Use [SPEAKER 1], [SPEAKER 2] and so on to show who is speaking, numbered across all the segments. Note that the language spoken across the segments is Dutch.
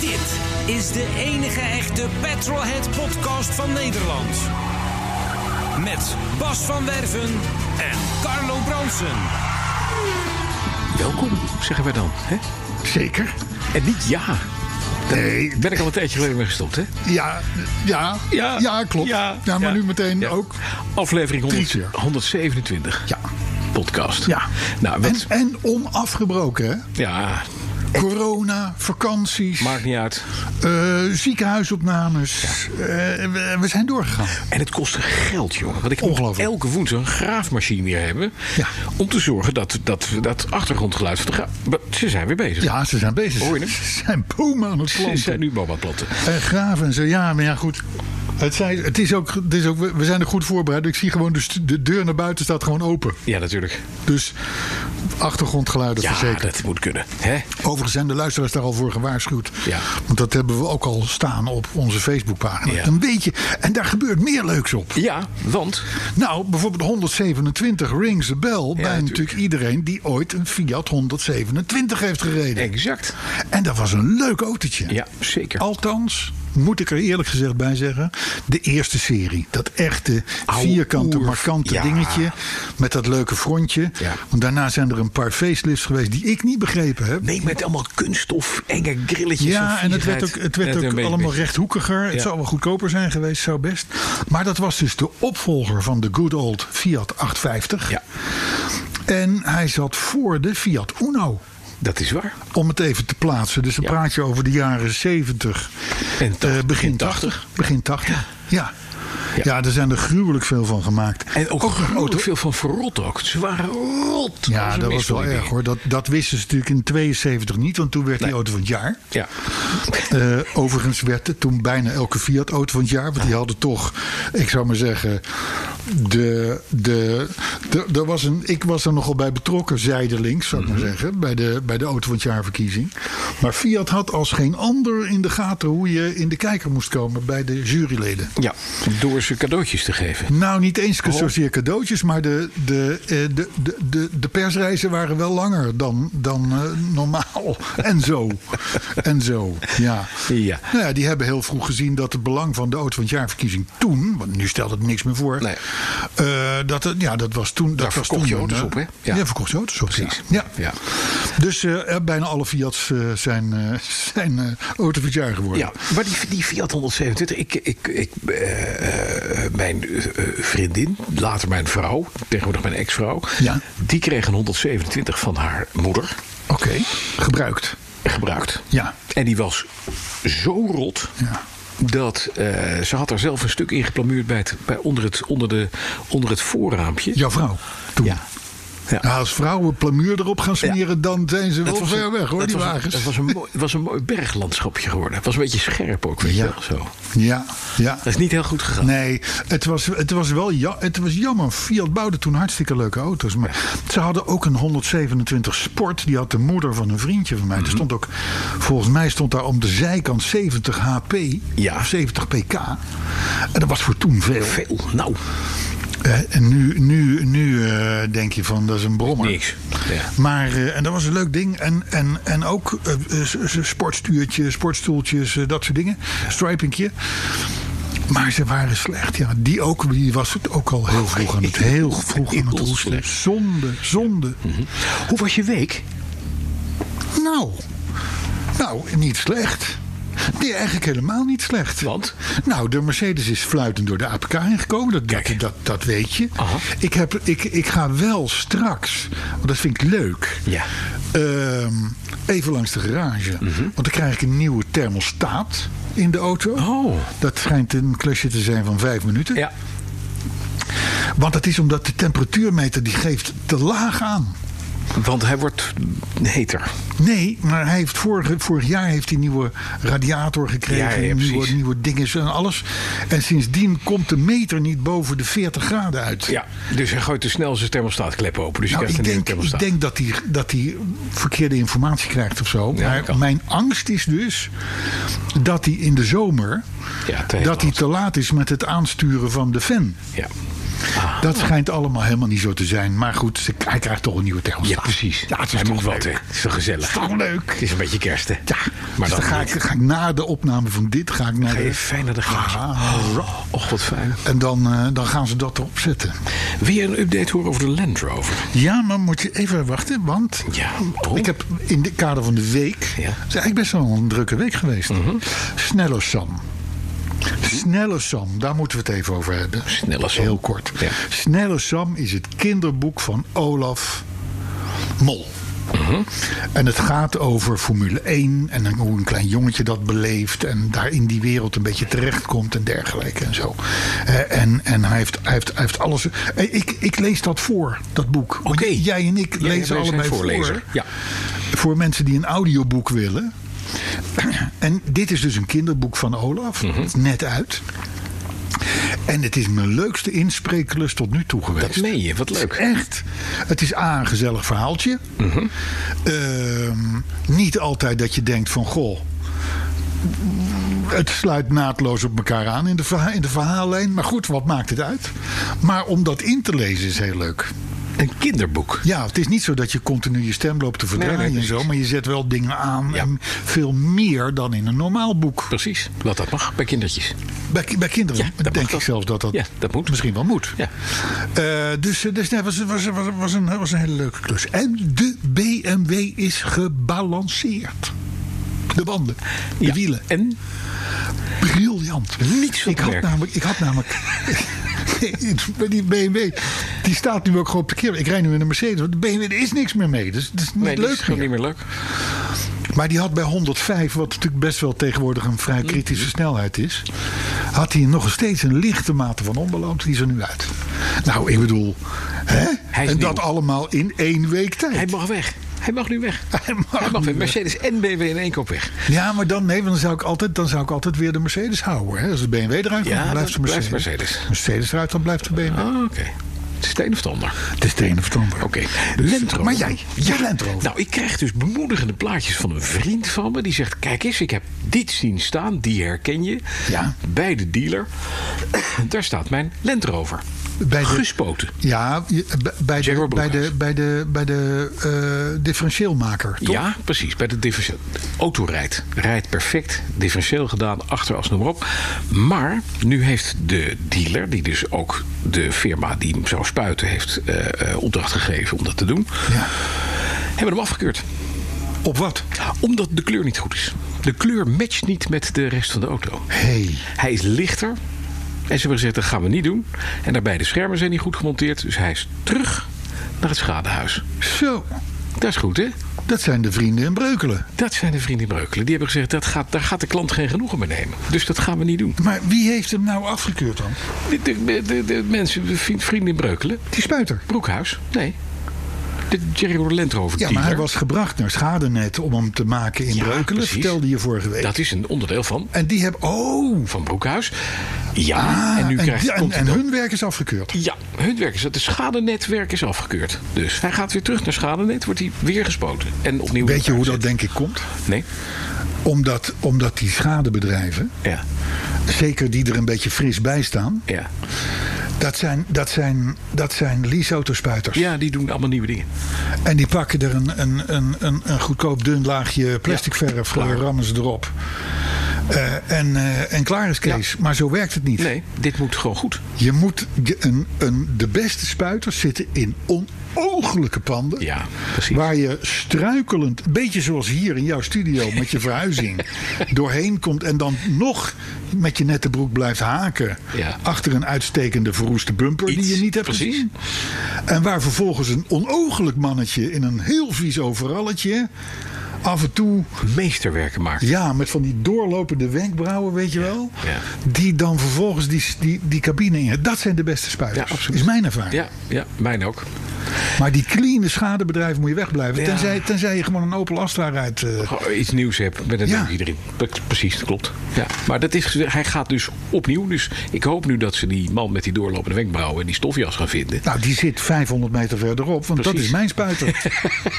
[SPEAKER 1] Dit is de enige echte Petrolhead podcast van Nederland. Met Bas van Werven en Carlo Bronsen.
[SPEAKER 2] Welkom, zeggen wij dan. Hè?
[SPEAKER 3] Zeker.
[SPEAKER 2] En niet ja.
[SPEAKER 3] Nee.
[SPEAKER 2] Ben ik al een tijdje geleden mee gestopt, hè?
[SPEAKER 3] Ja, ja, ja, klopt. Ja, maar nu meteen
[SPEAKER 2] Ja.
[SPEAKER 3] ook.
[SPEAKER 2] Aflevering
[SPEAKER 3] Drie
[SPEAKER 2] 100
[SPEAKER 3] keer.
[SPEAKER 2] 127.
[SPEAKER 3] Ja.
[SPEAKER 2] Podcast.
[SPEAKER 3] Ja.
[SPEAKER 2] Nou,
[SPEAKER 3] En,
[SPEAKER 2] wat,
[SPEAKER 3] en onafgebroken, hè?
[SPEAKER 2] ja,
[SPEAKER 3] Corona, vakanties,
[SPEAKER 2] maakt niet uit.
[SPEAKER 3] eh, ziekenhuisopnames. Eh, we, we zijn doorgegaan.
[SPEAKER 2] En het kostte geld, jongen. Want ik moet
[SPEAKER 3] Ongelooflijk.
[SPEAKER 2] elke woensdag een graafmachine weer hebben.
[SPEAKER 3] Ja.
[SPEAKER 2] Om te zorgen dat dat, dat achtergrondgeluid van de graaf... Maar Ze zijn weer bezig.
[SPEAKER 3] Ja, ze zijn bezig.
[SPEAKER 2] Hoor je hem?
[SPEAKER 3] Ze zijn bomen aan het
[SPEAKER 2] Ze
[SPEAKER 3] planten.
[SPEAKER 2] zijn nu boba planten.
[SPEAKER 3] En graven en zo. Ja, maar ja, goed. Het, zijn, het, is ook, het is ook, we we zijn er goed voorbereid. Ik zie gewoon de, stu- de deur naar buiten staat gewoon open.
[SPEAKER 2] Ja, natuurlijk.
[SPEAKER 3] Dus achtergrondgeluiden
[SPEAKER 2] Ja,
[SPEAKER 3] verzekerd.
[SPEAKER 2] dat moet kunnen. Hè?
[SPEAKER 3] Overigens zijn de luisteraars daar al voor gewaarschuwd.
[SPEAKER 2] Ja.
[SPEAKER 3] Want dat hebben we ook al staan op onze Facebookpagina.
[SPEAKER 2] Ja.
[SPEAKER 3] Een beetje. En daar gebeurt meer leuks op.
[SPEAKER 2] Ja, want...
[SPEAKER 3] Nou, bijvoorbeeld 127 rings the bell bij
[SPEAKER 2] natuurlijk.
[SPEAKER 3] natuurlijk iedereen die ooit een Fiat 127 heeft gereden.
[SPEAKER 2] Exact.
[SPEAKER 3] En dat was een leuk autootje.
[SPEAKER 2] Ja, zeker.
[SPEAKER 3] Althans, moet ik er eerlijk gezegd bij zeggen, de eerste serie. Dat echte
[SPEAKER 2] Oude
[SPEAKER 3] vierkante,
[SPEAKER 2] oer-
[SPEAKER 3] markante
[SPEAKER 2] ja.
[SPEAKER 3] dingetje met dat leuke frontje.
[SPEAKER 2] Ja.
[SPEAKER 3] Want daarna zijn er een paar facelifts geweest die ik niet begrepen heb.
[SPEAKER 2] Nee, met allemaal kunststof, enge grilletjes.
[SPEAKER 3] Ja,
[SPEAKER 2] of
[SPEAKER 3] en het werd
[SPEAKER 2] vierheid.
[SPEAKER 3] ook,
[SPEAKER 2] Net
[SPEAKER 3] het werd
[SPEAKER 2] een
[SPEAKER 3] ook
[SPEAKER 2] beetje-
[SPEAKER 3] allemaal rechthoekiger.
[SPEAKER 2] Ja.
[SPEAKER 3] Het zou wel goedkoper zijn geweest, zou best. Maar dat was dus de opvolger van de good old Fiat 850.
[SPEAKER 2] Ja,
[SPEAKER 3] En hij zat voor de Fiat Uno.
[SPEAKER 2] dat is waar.
[SPEAKER 3] Om het even te plaatsen. Dus dan
[SPEAKER 2] Ja.
[SPEAKER 3] praat je over de jaren 70.
[SPEAKER 2] En
[SPEAKER 3] eh,
[SPEAKER 2] tachtig,
[SPEAKER 3] begin
[SPEAKER 2] begin
[SPEAKER 3] 80. Begin 80. Ja.
[SPEAKER 2] Ja.
[SPEAKER 3] Ja. daar zijn er gruwelijk veel van gemaakt.
[SPEAKER 2] En ook,
[SPEAKER 3] een
[SPEAKER 2] ook veel van verrot ook. Ze waren rot.
[SPEAKER 3] Ja,
[SPEAKER 2] als een
[SPEAKER 3] dat was
[SPEAKER 2] mist,
[SPEAKER 3] wel
[SPEAKER 2] die
[SPEAKER 3] erg
[SPEAKER 2] dingen.
[SPEAKER 3] hoor. Dat, dat wisten ze natuurlijk in 72 niet, want toen werd die auto van het jaar.
[SPEAKER 2] Ja,
[SPEAKER 3] Eh, overigens werd het toen bijna elke Fiat-auto van het jaar. Want die hadden toch, ik zou maar zeggen. De, de, de, er was een, ik was er nogal bij betrokken, zijdelings, zou ik maar zeggen. Bij de, bij de auto van het jaar verkiezing. Maar Fiat had als geen ander in de gaten hoe je in de kijker moest komen bij de juryleden.
[SPEAKER 2] ja, door ze cadeautjes te geven.
[SPEAKER 3] Nou, niet eens
[SPEAKER 2] Oh.
[SPEAKER 3] zozeer cadeautjes, maar de, de, eh, de, de, de, de persreizen waren wel langer dan, dan eh, normaal. En zo. en zo, ja.
[SPEAKER 2] Ja.
[SPEAKER 3] Nou ja. Die hebben heel vroeg gezien dat het belang van de auto van het jaarverkiezing toen... want nu stelt het niks meer voor...
[SPEAKER 2] Nee.
[SPEAKER 3] eh, dat, het- ja, dat was toen... Dat
[SPEAKER 2] Daar
[SPEAKER 3] was
[SPEAKER 2] verkocht je
[SPEAKER 3] toen,
[SPEAKER 2] auto's
[SPEAKER 3] eh,
[SPEAKER 2] op, hè? Ja.
[SPEAKER 3] Ja. verkocht je auto's op,
[SPEAKER 2] Precies.
[SPEAKER 3] Ja.
[SPEAKER 2] Ja.
[SPEAKER 3] Dus eh, bijna alle Fiat's eh, zijn, eh, zijn eh, auto van het jaar geworden.
[SPEAKER 2] Ja, maar die, die Fiat 127, ik, ik, ik, eh, eh, mijn eh, eh, vriendin, later mijn vrouw, tegenwoordig mijn ex-vrouw,
[SPEAKER 3] Ja.
[SPEAKER 2] die kreeg een 127 van haar moeder
[SPEAKER 3] Oké, gebruikt.
[SPEAKER 2] gebruikt.
[SPEAKER 3] Ja.
[SPEAKER 2] En die was zo rot.
[SPEAKER 3] Ja.
[SPEAKER 2] Dat eh, ze had er zelf een stuk in geplamuurd bij het, bij onder, het, onder, de, onder het voorraampje.
[SPEAKER 3] Jouw vrouw toen?
[SPEAKER 2] Ja. Ja.
[SPEAKER 3] Nou, als vrouwen plamuur erop gaan smeren, dan zijn ze wel ver
[SPEAKER 2] een-
[SPEAKER 3] weg hoor,
[SPEAKER 2] dat
[SPEAKER 3] die
[SPEAKER 2] was een-
[SPEAKER 3] wagens.
[SPEAKER 2] dat was een, mooi, het was een mooi berglandschapje geworden. Het was een beetje scherp ook, weet
[SPEAKER 3] Ja.
[SPEAKER 2] je wel. Zo.
[SPEAKER 3] Ja, ja.
[SPEAKER 2] Dat is niet heel goed gegaan.
[SPEAKER 3] Nee, het was, het was wel ja, het was jammer. Fiat bouwde toen hartstikke leuke auto's. Maar ze hadden ook een 127 Sport. Die had de moeder van een vriendje van mij.
[SPEAKER 2] Mhm.
[SPEAKER 3] Er stond ook, volgens mij stond daar om de zijkant 70 HP.
[SPEAKER 2] Ja.
[SPEAKER 3] Of 70 pk. En dat was voor toen veel.
[SPEAKER 2] Veel. Nou,
[SPEAKER 3] Eh, en nu, nu, nu eh, denk je van, dat is een brommer.
[SPEAKER 2] niks. Ja.
[SPEAKER 3] Maar eh, en dat was een leuk ding. En, en, en ook eh, eh, s- s- sportstuurtje, sportstoeltjes, eh, dat soort dingen. Stripingje. Maar ze waren slecht. Ja, die, ook, die was het ook al heel vroeg aan het, heel vroeg aan het
[SPEAKER 2] Heel
[SPEAKER 3] ontstaan.
[SPEAKER 2] slecht.
[SPEAKER 3] Zonde, zonde.
[SPEAKER 2] Mhm. Hoe was je week?
[SPEAKER 3] Nou, nou, niet slecht. Nee, eigenlijk helemaal niet slecht.
[SPEAKER 2] Want?
[SPEAKER 3] Nou, de Mercedes is fluitend door de APK ingekomen. Dat, dat,
[SPEAKER 2] Kijk.
[SPEAKER 3] dat, dat weet je.
[SPEAKER 2] Aha.
[SPEAKER 3] Ik, heb, ik, ik ga wel straks, want dat vind ik leuk.
[SPEAKER 2] Ja. Mhm.
[SPEAKER 3] Ehm, even langs de garage. Want dan krijg ik een nieuwe thermostaat. in de auto.
[SPEAKER 2] Oh.
[SPEAKER 3] Dat schijnt een klusje te zijn van vijf minuten.
[SPEAKER 2] Ja.
[SPEAKER 3] Want dat is omdat de temperatuurmeter die geeft te laag aan.
[SPEAKER 2] Want hij wordt heter.
[SPEAKER 3] Nee, maar hij heeft vorige, vorig jaar heeft hij een nieuwe radiator gekregen.
[SPEAKER 2] Ja, ja,
[SPEAKER 3] nieuwe,
[SPEAKER 2] precies.
[SPEAKER 3] nieuwe dingen en alles. En sindsdien komt de meter niet boven de 40 graden uit.
[SPEAKER 2] Ja, dus hij gooit te snel zijn thermostaatklep open. Dus je
[SPEAKER 3] Nou,
[SPEAKER 2] krijgt
[SPEAKER 3] ik
[SPEAKER 2] een nieuwe
[SPEAKER 3] denk, ik
[SPEAKER 2] thermostaat.
[SPEAKER 3] denk dat hij dat hij verkeerde informatie krijgt of zo.
[SPEAKER 2] Ja,
[SPEAKER 3] maar
[SPEAKER 2] kan.
[SPEAKER 3] mijn angst is dus dat hij in de zomer
[SPEAKER 2] Ja, te
[SPEAKER 3] dat hij
[SPEAKER 2] laat.
[SPEAKER 3] te laat is met het aansturen van de fan.
[SPEAKER 2] Ja.
[SPEAKER 3] Dat
[SPEAKER 2] Oh.
[SPEAKER 3] schijnt allemaal helemaal niet zo te zijn. Maar goed, ze- hij krijgt toch een nieuwe thermostaat.
[SPEAKER 2] ja, precies.
[SPEAKER 3] Ja, het is
[SPEAKER 2] hij
[SPEAKER 3] toch
[SPEAKER 2] moet wat, hè.
[SPEAKER 3] leuk.
[SPEAKER 2] Het is toch gezellig.
[SPEAKER 3] Toch leuk.
[SPEAKER 2] Het is een beetje kerst, hè.
[SPEAKER 3] Ja,
[SPEAKER 2] maar
[SPEAKER 3] dus dan ga
[SPEAKER 2] niet.
[SPEAKER 3] ik, ga ik na de opname van dit ga ik naar
[SPEAKER 2] Ga je
[SPEAKER 3] de...
[SPEAKER 2] fijn naar de garage.
[SPEAKER 3] Ah,
[SPEAKER 2] Oh, oh, wat fijn.
[SPEAKER 3] En dan, eh, dan gaan ze dat erop zetten.
[SPEAKER 2] Wil je een update horen over de Land Rover?
[SPEAKER 3] Ja, maar moet je even wachten, want
[SPEAKER 2] Ja, oh.
[SPEAKER 3] ik heb in de kader van de week...
[SPEAKER 2] Ja. Mhm.
[SPEAKER 3] Het is eigenlijk best wel een drukke week geweest. Snelle Sam. Snelle Sam, daar moeten we het even over hebben.
[SPEAKER 2] Snelle Sam.
[SPEAKER 3] Heel kort.
[SPEAKER 2] Ja.
[SPEAKER 3] Snelle Sam is het kinderboek van Olaf Mol. En het gaat over Formule 1 en dan hoe een klein jongetje dat beleeft. En daar in die wereld een beetje terechtkomt en dergelijke en zo. Eh, en en hij, heeft, hij, heeft, hij heeft alles. Eh, Ik, ik lees dat voor, dat boek. Want
[SPEAKER 2] Oké.
[SPEAKER 3] Jij en ik
[SPEAKER 2] Ja, jij
[SPEAKER 3] lezen
[SPEAKER 2] bent
[SPEAKER 3] allebei
[SPEAKER 2] zijn voorlezer.
[SPEAKER 3] voor.
[SPEAKER 2] Ja.
[SPEAKER 3] Voor mensen die een audioboek willen. En dit is dus een kinderboek van Olaf.
[SPEAKER 2] Mhm.
[SPEAKER 3] Het is net uit. En het is mijn leukste inspreeklus tot nu toe geweest.
[SPEAKER 2] Dat meen je, wat leuk. Mhm.
[SPEAKER 3] Echt. Het is A, een gezellig verhaaltje. Ehm, niet altijd dat je denkt van, goh... Het sluit naadloos op elkaar aan in de, verha- in de verhaallijn. Maar goed, wat maakt het uit? Maar om dat in te lezen is heel leuk.
[SPEAKER 2] Een kinderboek.
[SPEAKER 3] Ja, het is niet zo dat je continu je stem loopt te verdraaien
[SPEAKER 2] Nee, nee,
[SPEAKER 3] en zo.
[SPEAKER 2] precies.
[SPEAKER 3] Maar je zet wel dingen aan.
[SPEAKER 2] Ja.
[SPEAKER 3] En veel meer dan in een normaal boek.
[SPEAKER 2] Precies, dat dat mag bij kindertjes.
[SPEAKER 3] Bij, bij kinderen
[SPEAKER 2] Ja, dat mag
[SPEAKER 3] denk ik
[SPEAKER 2] dat.
[SPEAKER 3] zelfs dat dat,
[SPEAKER 2] Ja, dat moet.
[SPEAKER 3] misschien wel moet.
[SPEAKER 2] Ja.
[SPEAKER 3] Eh, dus eh, dus nee, was, was, was, was, een, was een hele leuke klus. En de BMW is gebalanceerd. De banden, de
[SPEAKER 2] Ja.
[SPEAKER 3] wielen.
[SPEAKER 2] En?
[SPEAKER 3] Briljant.
[SPEAKER 2] Niets van
[SPEAKER 3] ik had
[SPEAKER 2] merk.
[SPEAKER 3] namelijk, Ik had namelijk. Nee, die BMW die staat nu ook gewoon op de keer. Ik rijd nu in een Mercedes. want De BMW er is niks meer mee. Dus het is niet
[SPEAKER 2] Nee, dat
[SPEAKER 3] leuk
[SPEAKER 2] is gewoon
[SPEAKER 3] meer.
[SPEAKER 2] niet meer leuk.
[SPEAKER 3] Maar die had bij 105, wat natuurlijk best wel tegenwoordig een vrij kritische
[SPEAKER 2] Mhm.
[SPEAKER 3] snelheid is, had hij nog steeds een lichte mate van onbalans. Die is er nu uit. Nou, ik bedoel, hè?
[SPEAKER 2] Hij is
[SPEAKER 3] en dat
[SPEAKER 2] nieuw.
[SPEAKER 3] allemaal in één week tijd.
[SPEAKER 2] Hij mag weg. Hij mag nu weg.
[SPEAKER 3] Hij mag nu
[SPEAKER 2] weg.
[SPEAKER 3] weg.
[SPEAKER 2] Mercedes en BMW in één koop weg.
[SPEAKER 3] Ja, maar dan, nee, want dan, zou ik altijd, dan zou ik altijd weer de Mercedes houden. Hè? Als de BMW eruit komt,
[SPEAKER 2] Ja,
[SPEAKER 3] dan blijft de
[SPEAKER 2] dan
[SPEAKER 3] Mercedes.
[SPEAKER 2] Oh, blijft Mercedes.
[SPEAKER 3] Mercedes eruit, dan blijft de BMW.
[SPEAKER 2] Ah, oké. Het is het een of het ander.
[SPEAKER 3] Het is de een of het ander.
[SPEAKER 2] Oké.
[SPEAKER 3] Dus-
[SPEAKER 2] Land Rover.
[SPEAKER 3] Maar jij, jij Land Rover.
[SPEAKER 2] Nou, ik krijg dus bemoedigende plaatjes van een vriend van me. Die zegt, kijk eens, ik heb dit zien staan. Die herken je.
[SPEAKER 3] Ja.
[SPEAKER 2] Bij de dealer. Daar staat mijn Land Rover.
[SPEAKER 3] Bij de-
[SPEAKER 2] Gespoten.
[SPEAKER 3] ja, je- bij- bij de,
[SPEAKER 2] Jaguar
[SPEAKER 3] bij de,
[SPEAKER 2] Broekhuis.
[SPEAKER 3] bij de, bij de eh, differentieelmaker, toch?
[SPEAKER 2] Ja, precies. Bij de differentieel. Auto rijdt. Rijdt perfect. Differentieel gedaan. Achteras, noem maar op. Maar nu heeft de dealer, die dus ook de firma die hem zou spuiten heeft eh, eh, opdracht gegeven om dat te doen,
[SPEAKER 3] Ja.
[SPEAKER 2] hebben hem afgekeurd.
[SPEAKER 3] Op wat?
[SPEAKER 2] Omdat de kleur niet goed is. De kleur matcht niet met de rest van de auto.
[SPEAKER 3] Hey.
[SPEAKER 2] Hij is lichter. En ze hebben gezegd, dat gaan we niet doen. En daarbij de schermen zijn niet goed gemonteerd. Dus hij is terug naar het schadehuis.
[SPEAKER 3] Zo,
[SPEAKER 2] Dat is goed, hè?
[SPEAKER 3] dat zijn de vrienden in Breukelen.
[SPEAKER 2] Dat zijn de vrienden in Breukelen. Die hebben gezegd, dat gaat, daar gaat de klant geen genoegen mee nemen. Dus dat gaan we niet doen.
[SPEAKER 3] Maar wie heeft hem nou afgekeurd dan?
[SPEAKER 2] De, de- de- de- de mensen, de vriend- vrienden in Breukelen.
[SPEAKER 3] Die spuiter.
[SPEAKER 2] Broekhuis? Nee. De Jerry Land Rover
[SPEAKER 3] Ja, maar hij
[SPEAKER 2] dealer.
[SPEAKER 3] was gebracht naar Schadenet om hem te maken in
[SPEAKER 2] Ja,
[SPEAKER 3] Breukelen.
[SPEAKER 2] precies.
[SPEAKER 3] Vertelde je vorige week.
[SPEAKER 2] Dat is een onderdeel van,
[SPEAKER 3] En die hebben... Oh!
[SPEAKER 2] van Broekhuis. Ja,
[SPEAKER 3] Ah,
[SPEAKER 2] en nu krijgt,
[SPEAKER 3] die- en-
[SPEAKER 2] komt hij
[SPEAKER 3] en
[SPEAKER 2] dan-
[SPEAKER 3] hun werk is afgekeurd.
[SPEAKER 2] Ja, hun werk is dat. Het schadenetwerk is afgekeurd. Dus hij gaat weer terug naar schadenet, wordt hij weer gespoten. En opnieuw
[SPEAKER 3] Weet je hoe dat
[SPEAKER 2] gezet.
[SPEAKER 3] denk ik komt?
[SPEAKER 2] Nee?
[SPEAKER 3] Omdat, omdat die schadebedrijven,
[SPEAKER 2] Ja.
[SPEAKER 3] zeker die er een beetje fris bij staan...
[SPEAKER 2] Ja.
[SPEAKER 3] dat zijn, dat zijn, dat zijn leaseautospuiters.
[SPEAKER 2] ja, die doen allemaal nieuwe dingen.
[SPEAKER 3] En die pakken er een, een, een, een, een goedkoop dun laagje plastic
[SPEAKER 2] Ja,
[SPEAKER 3] verf,
[SPEAKER 2] klaar.
[SPEAKER 3] rammen ze erop. Eh, en, eh, en klaar is Kees. Maar zo werkt het niet.
[SPEAKER 2] Nee, dit moet gewoon goed.
[SPEAKER 3] Je moet je- een, een, de beste spuiters zitten in onooglijke panden.
[SPEAKER 2] Ja, precies.
[SPEAKER 3] Waar je struikelend, een beetje zoals hier in jouw studio met je verhuizing, doorheen komt en dan nog met je nette broek blijft haken.
[SPEAKER 2] Ja.
[SPEAKER 3] Achter een uitstekende verroeste bumper
[SPEAKER 2] Iets,
[SPEAKER 3] die je niet hebt
[SPEAKER 2] precies.
[SPEAKER 3] gezien. En waar vervolgens een onooglijk mannetje in een heel vies overalletje af en toe
[SPEAKER 2] meesterwerken maakt.
[SPEAKER 3] ja, met van die doorlopende wenkbrauwen, weet je wel.
[SPEAKER 2] ja.
[SPEAKER 3] Die dan vervolgens die, die, die cabine in. Dat zijn de beste spuiters.
[SPEAKER 2] Ja, absoluut.
[SPEAKER 3] is mijn ervaring.
[SPEAKER 2] Ja, ja, mijn ook.
[SPEAKER 3] Maar die clean schadebedrijven moet je wegblijven.
[SPEAKER 2] Ja. Oh.
[SPEAKER 3] Tenzij, tenzij je gewoon een Opel Astra rijdt. eh,
[SPEAKER 2] Gewoon iets nieuws hebt met een
[SPEAKER 3] Ja.
[SPEAKER 2] ja. erin. Dat, precies, dat klopt. Ja. Maar dat is, hij gaat dus opnieuw. Dus ik hoop nu dat ze die man met die doorlopende wenkbrauwen en die stofjas gaan vinden.
[SPEAKER 3] Nou, die zit 500 meter verderop, want dat
[SPEAKER 2] Precies.
[SPEAKER 3] is mijn spuiter.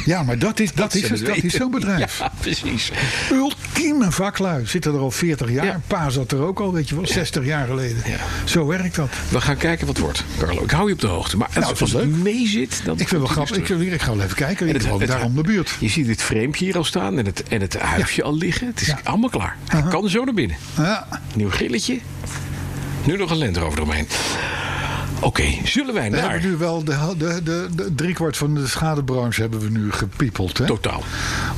[SPEAKER 3] ja, maar dat is, dat is,
[SPEAKER 2] Zullen
[SPEAKER 3] het,
[SPEAKER 2] we
[SPEAKER 3] dat is
[SPEAKER 2] weten.
[SPEAKER 3] zo'n bedrijf.
[SPEAKER 2] Ja, precies.
[SPEAKER 3] Ultieme vaklui. Zitten er al 40 jaar.
[SPEAKER 2] Ja.
[SPEAKER 3] Pa zat er ook al, weet je wel, 60 jaar geleden.
[SPEAKER 2] Ja.
[SPEAKER 3] Zo werkt dat.
[SPEAKER 2] We gaan kijken wat het wordt, Carlo. Ik hou je op de hoogte. Maar
[SPEAKER 3] Nou,
[SPEAKER 2] als,
[SPEAKER 3] dat
[SPEAKER 2] als
[SPEAKER 3] is
[SPEAKER 2] het
[SPEAKER 3] leuk.
[SPEAKER 2] mee zit, dan
[SPEAKER 3] Ik vind het wel
[SPEAKER 2] komt
[SPEAKER 3] grappig.
[SPEAKER 2] hij dus
[SPEAKER 3] Ik,
[SPEAKER 2] terug.
[SPEAKER 3] wil- ik ga wel even kijken. Ik
[SPEAKER 2] En het-
[SPEAKER 3] woon
[SPEAKER 2] het-
[SPEAKER 3] daar om de buurt.
[SPEAKER 2] Je ziet het frame hier al staan en het, en het huisje al liggen. Het is
[SPEAKER 3] Ja.
[SPEAKER 2] allemaal klaar. Hij
[SPEAKER 3] Aha.
[SPEAKER 2] kan zo naar binnen.
[SPEAKER 3] Ja.
[SPEAKER 2] Nieuw grilletje. Nu nog een Land Rover eromheen. Oké, zullen wij
[SPEAKER 3] We
[SPEAKER 2] naar...
[SPEAKER 3] hebben nu wel de, de, de, de driekwart van de schadebranche hebben we nu gepiepeld. Hè?
[SPEAKER 2] Totaal.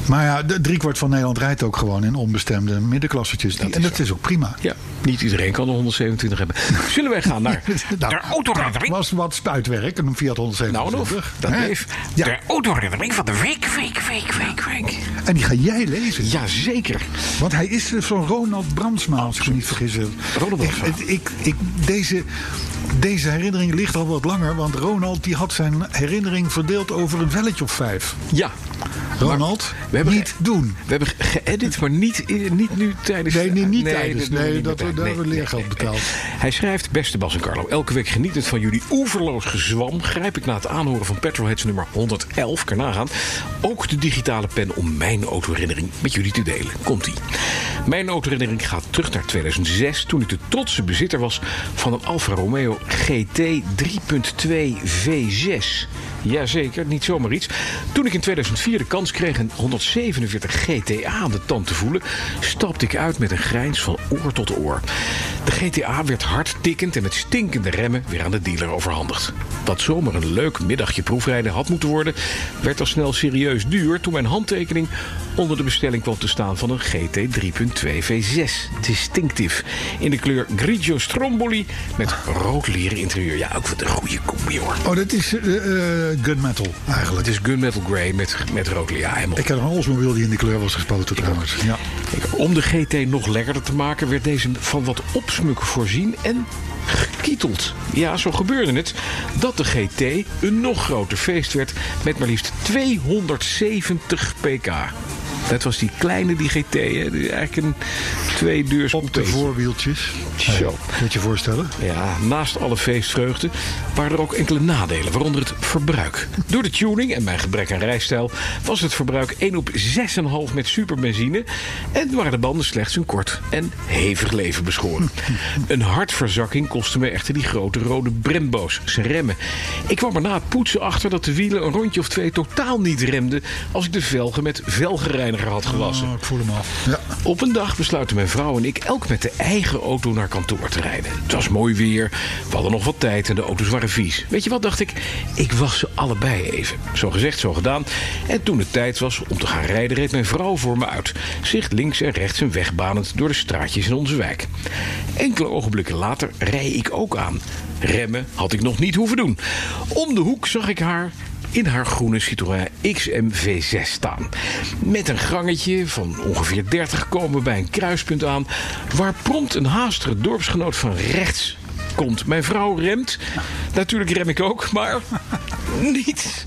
[SPEAKER 3] Maar ja, de driekwart van Nederland rijdt ook gewoon in onbestemde middenklassetjes.
[SPEAKER 2] Dat
[SPEAKER 3] en
[SPEAKER 2] is
[SPEAKER 3] dat is ook prima.
[SPEAKER 2] Ja, niet iedereen kan een 127 hebben. Zullen wij gaan naar
[SPEAKER 3] Nou,
[SPEAKER 2] de autoreddering?
[SPEAKER 3] was wat spuitwerk, een Fiat 170.
[SPEAKER 2] Nou nog, dat bleef.
[SPEAKER 3] Ja.
[SPEAKER 2] De autoreddering van de week, week, week, week, week.
[SPEAKER 3] En die ga jij lezen.
[SPEAKER 2] Jazeker.
[SPEAKER 3] Want hij is eh, van Ronald Brandsma, als ik me niet vergis.
[SPEAKER 2] Ronald Brandsma.
[SPEAKER 3] Ik, ik, ik, deze, deze herinnering ligt al wat langer. Want Ronald die had zijn herinnering verdeeld over een velletje of vijf.
[SPEAKER 2] Ja.
[SPEAKER 3] Ronald,
[SPEAKER 2] We hebben e-
[SPEAKER 3] niet
[SPEAKER 2] ge-
[SPEAKER 3] doen.
[SPEAKER 2] We hebben ge- geëdit, maar niet, in- niet nu tijdens...
[SPEAKER 3] Nee, nee, niet tijdens.
[SPEAKER 2] doen we
[SPEAKER 3] Nee,
[SPEAKER 2] niet
[SPEAKER 3] dat
[SPEAKER 2] meer
[SPEAKER 3] we-
[SPEAKER 2] tijdens.
[SPEAKER 3] daar hebben we leergeld betaald.
[SPEAKER 2] Hij schrijft, beste Bas en Carlo, elke week genietend van jullie oeverloos gezwam... grijp ik na het aanhoren van Petrolheads nummer 111, kan nagaan... ook de digitale pen om mijn autoherinnering met jullie te delen. Komt-ie. Mijn autoherinnering gaat terug naar 2006... toen ik de trotse bezitter was van een Alfa Romeo GT 3.2 V6... Jazeker, niet zomaar iets. Toen ik in 2004 de kans kreeg een 147 GTA aan de tand te voelen, stapte ik uit met een grijns van oor tot oor. De GTA werd hard tikkend en met stinkende remmen weer aan de dealer overhandigd. Wat zomaar een leuk middagje proefrijden had moeten worden, werd al snel serieus duur toen mijn handtekening onder de bestelling kwam te staan van een GT 3.2 V6. Distinctief. In de kleur Grigio Stromboli met rood leren interieur. Ja, ook wat een goede combi hoor.
[SPEAKER 3] Oh, dat is eh, eh, gunmetal eigenlijk.
[SPEAKER 2] Het is gunmetal grey met, met rood ja, helemaal.
[SPEAKER 3] Ik had een Oldsmobile die in de kleur was gespoten trouwens. Ja.
[SPEAKER 2] Ik- Om de GT nog lekkerder te maken werd deze van wat opsmuk voorzien en gekieteld. Ja, zo gebeurde het dat de GT een nog groter feest werd met maar liefst 270 pk. Dat was die kleine die GT, hè? Die eigenlijk een tweedeurs
[SPEAKER 3] Op de
[SPEAKER 2] coupeetje.
[SPEAKER 3] voorwieltjes.
[SPEAKER 2] Zo.
[SPEAKER 3] Hey, moet je voorstellen.
[SPEAKER 2] Ja, naast alle feestvreugde waren er ook enkele nadelen, waaronder het verbruik. Door de tuning en mijn gebrek aan rijstijl was het verbruik 1 op 6,5 met superbenzine en waren de banden slechts een kort en hevig leven beschoren. Een hartverzakking kostte me echter die grote rode Brembo's, zijn remmen. Ik kwam er na het poetsen achter dat de wielen een rondje of twee totaal niet remden als ik de velgen met velgenreiniger had gewassen.
[SPEAKER 3] Oh, ik voel hem al. Ja.
[SPEAKER 2] Op een dag besluiten mijn vrouw en ik elk met de eigen auto naar kantoor te rijden. Het was mooi weer, we hadden nog wat tijd en de auto's waren vies. Weet je wat, dacht ik? Ik was ze allebei even. Zo gezegd, zo gedaan. En toen het tijd was om te gaan rijden, reed mijn vrouw voor me uit. Zich links en rechts een weg banend door de straatjes in onze wijk. Enkele ogenblikken later rij ik ook aan. Remmen had ik nog niet hoeven doen. Om de hoek zag ik haar in haar groene Citroën XM V6 staan. Met een gangetje van ongeveer 30 komen we bij een kruispunt aan... waar prompt een haastere dorpsgenoot van rechts komt. Mijn vrouw remt. Natuurlijk rem ik ook, maar niet.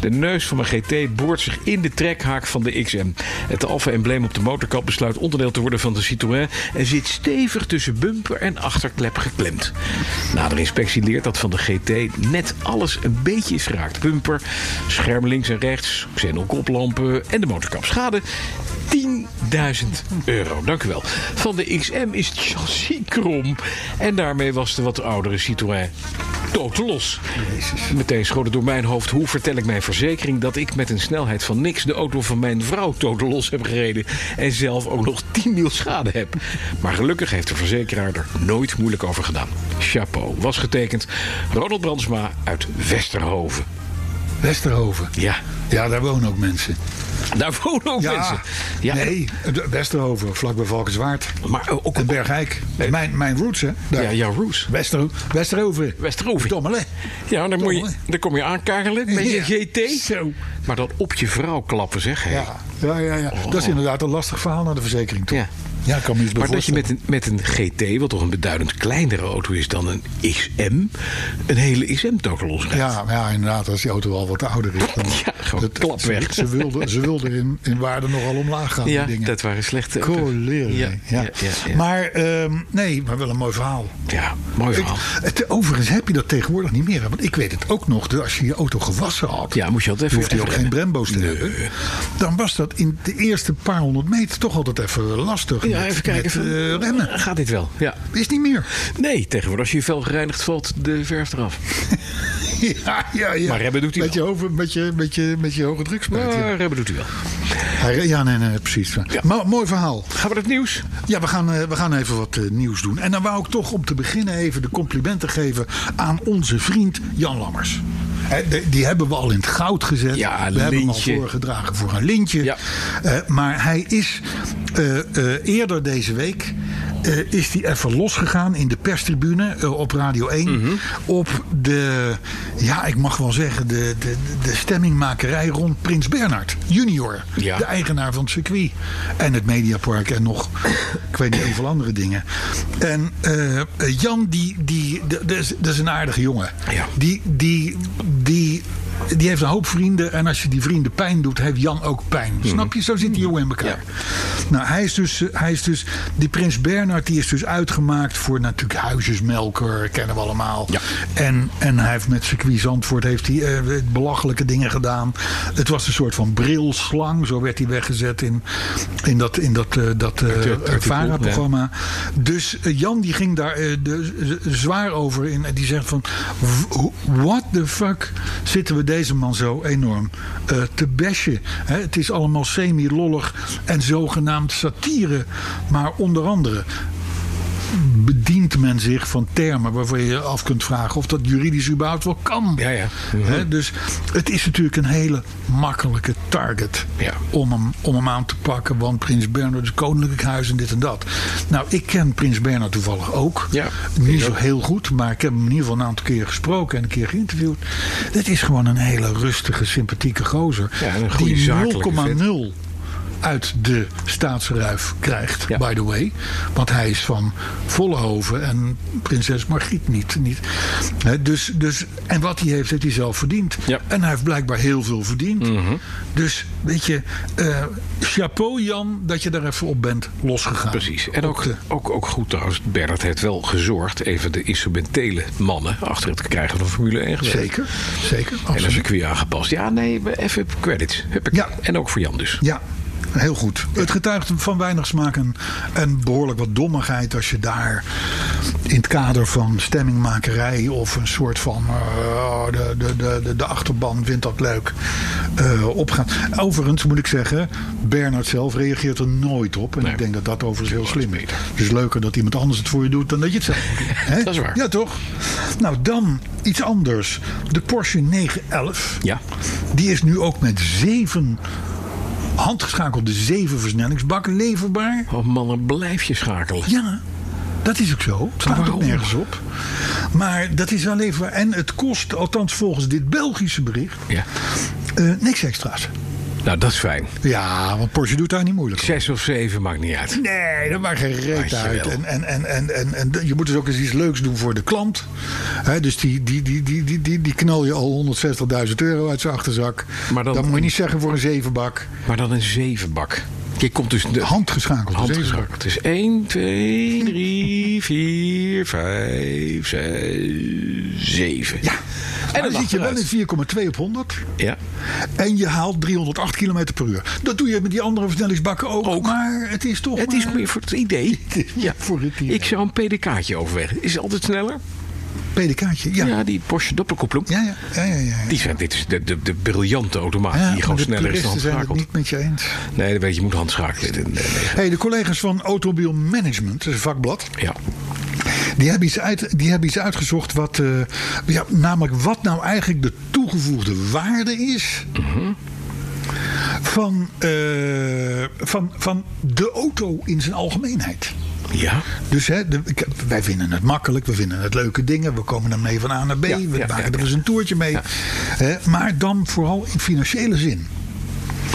[SPEAKER 2] De neus van mijn GT boort zich in de trekhaak van de XM. Het Alfa-embleem op de motorkap besluit onderdeel te worden van de Citroën... en zit stevig tussen bumper en achterklep geklemd. Nader inspectie leert dat van de GT net alles een beetje is geraakt. Bumper, scherm links en rechts, xenokoplampen en de motorkap. Schade 10.000 euro, dank u wel. Van de XM is het chassis krom. En daarmee was de wat oudere Citroën dood los. Meteen schoot het door mijn hoofd. Hoe vertel ik mijn verzekering dat ik met een snelheid van niks... de auto van mijn vrouw dood los heb gereden... en zelf ook nog 10 mil schade heb? Maar gelukkig heeft de verzekeraar er nooit moeilijk over gedaan. Chapeau. Was getekend Ronald Brandsma uit Westerhoven.
[SPEAKER 3] Westerhoven.
[SPEAKER 2] Ja,
[SPEAKER 3] Ja, daar wonen ook mensen.
[SPEAKER 2] daar wonen ook mensen. Ja,
[SPEAKER 3] Nee, de- Westerhoven, vlakbij Valkenswaard.
[SPEAKER 2] Maar ook
[SPEAKER 3] En Bergijk. Mijn, mijn roots, hè? Daar.
[SPEAKER 2] Ja, jouw roots.
[SPEAKER 3] Wester, Westerhoven.
[SPEAKER 2] Westerhoven.
[SPEAKER 3] Dommelé.
[SPEAKER 2] Ja, dan, moet je,
[SPEAKER 3] Verdomme.
[SPEAKER 2] dan kom je aankarrelen met je
[SPEAKER 3] Ja.
[SPEAKER 2] GT.
[SPEAKER 3] Zo.
[SPEAKER 2] Maar dan op je vrouw klappen, zeg. hè.
[SPEAKER 3] Ja. Ja, ja, ja. Dat is inderdaad een lastig verhaal naar de verzekering, toch?
[SPEAKER 2] Oh. Ja.
[SPEAKER 3] Ja, ik kan me iets bij
[SPEAKER 2] Maar dat je
[SPEAKER 3] voorstellen.
[SPEAKER 2] met een, met een GT, wat toch een beduidend kleinere auto is dan een XM, een hele XM toch losrijdt.
[SPEAKER 3] Ja, maar ja, inderdaad. Als die auto al wat ouder is, dan...
[SPEAKER 2] Ja, gewoon klap
[SPEAKER 3] ze-
[SPEAKER 2] weg.
[SPEAKER 3] Ze wilden ze wilde in, in waarde nogal omlaag gaan,
[SPEAKER 2] Ja,
[SPEAKER 3] die dingen.
[SPEAKER 2] dat waren slechte auto's.
[SPEAKER 3] Coleren.
[SPEAKER 2] Ja, ja,
[SPEAKER 3] Ja,
[SPEAKER 2] ja, ja.
[SPEAKER 3] Maar ehm, nee, maar wel een mooi verhaal.
[SPEAKER 2] Ja, mooi
[SPEAKER 3] Ik,
[SPEAKER 2] verhaal.
[SPEAKER 3] het, overigens heb je dat tegenwoordig niet meer. hè, Want ik weet het ook nog. dat Als je je auto gewassen had.
[SPEAKER 2] Ja, moest je altijd even-
[SPEAKER 3] hoefde je ook
[SPEAKER 2] even
[SPEAKER 3] geen
[SPEAKER 2] remmen.
[SPEAKER 3] Brembo's te
[SPEAKER 2] Nee.
[SPEAKER 3] hebben. Dan was dat in de eerste paar honderd meter toch altijd even lastig.
[SPEAKER 2] Ja,
[SPEAKER 3] met-
[SPEAKER 2] even kijken.
[SPEAKER 3] met,
[SPEAKER 2] van,
[SPEAKER 3] eh, remmen.
[SPEAKER 2] Gaat dit wel? Ja.
[SPEAKER 3] Is niet meer.
[SPEAKER 2] Nee, tegenwoordig als je je vel gereinigd valt, de verf eraf.
[SPEAKER 3] ja, ja, ja.
[SPEAKER 2] Maar remmen doet hij
[SPEAKER 3] met je, over, met, je, met, je, met je hoge drukspuit. Ja,
[SPEAKER 2] Maar eh, hebben doet hij wel.
[SPEAKER 3] Hij- ja nee, nee, precies.
[SPEAKER 2] Ja.
[SPEAKER 3] Maar, mooi verhaal.
[SPEAKER 2] Gaan we dat nieuws?
[SPEAKER 3] Ja, we gaan, eh, we gaan even wat eh, nieuws doen. En dan wou ik toch om te beginnen even de complimenten geven aan onze vriend Jan Lammers. Hè, de- Die hebben we al in het goud gezet.
[SPEAKER 2] Ja,
[SPEAKER 3] we hebben hem al
[SPEAKER 2] lintje.
[SPEAKER 3] voorgedragen voor een lintje.
[SPEAKER 2] Ja.
[SPEAKER 3] Eh, maar hij is eh, eh, eerder deze week eh, is die even losgegaan in de perstribune eh, op Radio 1.
[SPEAKER 2] Mhm.
[SPEAKER 3] Op de, ja, ik mag wel zeggen, de, de, de stemmingmakerij rond Prins Bernhard junior.
[SPEAKER 2] Ja.
[SPEAKER 3] De eigenaar van het circuit. En het Mediapark en nog, ik weet niet, hoeveel andere dingen. En eh, eh, Jan, die, die, d- dat is- dat is een aardige jongen.
[SPEAKER 2] Ja.
[SPEAKER 3] Die, die, die, die heeft een hoop vrienden. En als je die vrienden pijn doet, heeft Jan ook pijn.
[SPEAKER 2] Mhm.
[SPEAKER 3] Snap je? Zo zit die jongen in elkaar. Nou, hij is, dus, eh, hij is dus. Die Prins Bernhard die is dus uitgemaakt voor natuurlijk huisjesmelker, kennen we allemaal.
[SPEAKER 2] Ja.
[SPEAKER 3] En, en hij heeft met circuit Zandvoort heeft hij, eh, belachelijke dingen gedaan. Het was een soort van brilslang, zo werd hij weggezet in, in dat, in dat, eh, dat eh,
[SPEAKER 2] het artikel,
[SPEAKER 3] VARA-programma. Dus eh, Jan die ging daar eh, de, z- zwaar over in. En die zegt van, "W- what the fuck zitten we deze man zo enorm eh, te bashen. Hè, het is allemaal semi-lollig en zogenaamd satire. Maar onder andere bedient men zich van termen waarvan je je af kunt vragen of dat juridisch überhaupt wel kan.
[SPEAKER 2] Ja, ja. Hmm.
[SPEAKER 3] Hè, dus het is natuurlijk een hele makkelijke target
[SPEAKER 2] Ja.
[SPEAKER 3] om, hem, om hem aan te pakken. Want Prins Bernhard is koninklijk huis en dit en dat. Nou, ik ken Prins Bernhard toevallig ook.
[SPEAKER 2] Ja,
[SPEAKER 3] Niet
[SPEAKER 2] ik
[SPEAKER 3] zo
[SPEAKER 2] ook.
[SPEAKER 3] heel goed, maar ik heb hem in ieder geval een aantal keer gesproken en een keer geïnterviewd. Het is gewoon een hele rustige, sympathieke gozer.
[SPEAKER 2] Ja, en een goede
[SPEAKER 3] die
[SPEAKER 2] zakelijke vent.
[SPEAKER 3] 0,0 uit de staatsruif krijgt,
[SPEAKER 2] Ja.
[SPEAKER 3] by the way. Want hij is van Vollenhoven en prinses Margriet niet. niet. Hè, dus, dus, en wat hij heeft, heeft hij zelf verdiend.
[SPEAKER 2] Ja. Mhm.
[SPEAKER 3] En hij heeft blijkbaar heel veel verdiend. Dus weet je, eh, chapeau Jan dat je daar even op bent losgegaan.
[SPEAKER 2] Precies. En
[SPEAKER 3] Op
[SPEAKER 2] ook,
[SPEAKER 3] de-
[SPEAKER 2] ook, ook goed trouwens, Bernard heeft wel gezorgd even de instrumentele mannen achter het krijgen van Formule 1 gezet.
[SPEAKER 3] zeker, zeker.
[SPEAKER 2] En een
[SPEAKER 3] absoluut.
[SPEAKER 2] circuit aangepast. Ja, nee, we- even credits. Huppakee.
[SPEAKER 3] Ja.
[SPEAKER 2] En ook voor Jan dus.
[SPEAKER 3] Ja, heel goed. Het getuigt van weinig smaak en, en behoorlijk wat dommigheid als je daar in het kader van stemmingmakerij of een soort van eh, de, de, de, de, de achterban vindt dat leuk eh, opgaat. Overigens moet ik zeggen, Bernard zelf reageert er nooit op. En ik denk dat dat overigens heel slim is. Het is leuker dat iemand anders het voor je doet dan dat je het zelf moet doen. Hè?
[SPEAKER 2] Dat is waar.
[SPEAKER 3] Ja, toch? Nou, dan iets anders. De Porsche 911.
[SPEAKER 2] Ja.
[SPEAKER 3] Die is nu ook met zeven handgeschakelde zeven versnellingsbakken leverbaar.
[SPEAKER 2] Oh mannen, blijf je schakelen.
[SPEAKER 3] Ja, dat is ook zo. Het staat ook
[SPEAKER 2] waarom?
[SPEAKER 3] nergens op. Maar dat is wel leverbaar. En het kost, althans volgens dit Belgische bericht,
[SPEAKER 2] Ja.
[SPEAKER 3] eh, niks extra's.
[SPEAKER 2] Nou, dat is fijn.
[SPEAKER 3] Ja, want Porsche doet daar niet moeilijk over.
[SPEAKER 2] Zes of zeven maakt niet uit.
[SPEAKER 3] Nee, dat maakt geen reet
[SPEAKER 2] Dankjewel.
[SPEAKER 3] uit. En, en, en, en, en, en je moet dus ook eens iets leuks doen voor de klant. Hè, dus die, die, die, die, die, die, die knal je al 160.000 euro uit zijn achterzak.
[SPEAKER 2] Maar dan-
[SPEAKER 3] dat moet je niet zeggen voor een zevenbak.
[SPEAKER 2] Maar dan een zevenbak. Je komt dus de Dus
[SPEAKER 3] Handgeschakeld.
[SPEAKER 2] handgeschakeld. Het is 1, 2, 3, 4, 5, 6, 7.
[SPEAKER 3] Ja.
[SPEAKER 2] En
[SPEAKER 3] En
[SPEAKER 2] dan
[SPEAKER 3] dan zit je wel in 4,2 op 100.
[SPEAKER 2] Ja.
[SPEAKER 3] En je haalt 308 km per uur. Dat doe je met die andere versnellingsbakken ook.
[SPEAKER 2] Ook.
[SPEAKER 3] Maar het is toch
[SPEAKER 2] Het is
[SPEAKER 3] maar-
[SPEAKER 2] meer voor het idee. Ja.
[SPEAKER 3] voor eh, het idee.
[SPEAKER 2] Ik zou een PDK'tje overwegen. Is het altijd sneller?
[SPEAKER 3] PDK'tje. Ja.
[SPEAKER 2] Ja,
[SPEAKER 3] Ja.
[SPEAKER 2] die Porsche doppelkoppeling.
[SPEAKER 3] Ja, ja, ja, ja, ja.
[SPEAKER 2] Die zijn, dit is de, de, de briljante automaat
[SPEAKER 3] Ja,
[SPEAKER 2] die gewoon
[SPEAKER 3] de
[SPEAKER 2] sneller is dan
[SPEAKER 3] puristen zijn het
[SPEAKER 2] handschakeld.
[SPEAKER 3] niet met je eens.
[SPEAKER 2] Nee, dat weet je, je moet handschakelen. Nee, nee, nee.
[SPEAKER 3] Hey, de collega's van Automobiel Management, dat is een vakblad.
[SPEAKER 2] Ja.
[SPEAKER 3] Die hebben iets, uit, die hebben iets uitgezocht wat. eh, ja, namelijk wat nou eigenlijk de toegevoegde waarde is. Van, eh, van, van de auto in zijn algemeenheid.
[SPEAKER 2] Ja.
[SPEAKER 3] Dus hè, de- ik- wij vinden het makkelijk, we vinden het leuke dingen. We komen er mee van A naar B,
[SPEAKER 2] Ja,
[SPEAKER 3] we
[SPEAKER 2] ja,
[SPEAKER 3] maken
[SPEAKER 2] ja,
[SPEAKER 3] er
[SPEAKER 2] ja.
[SPEAKER 3] eens een toertje mee. Hè, maar dan vooral in financiële zin.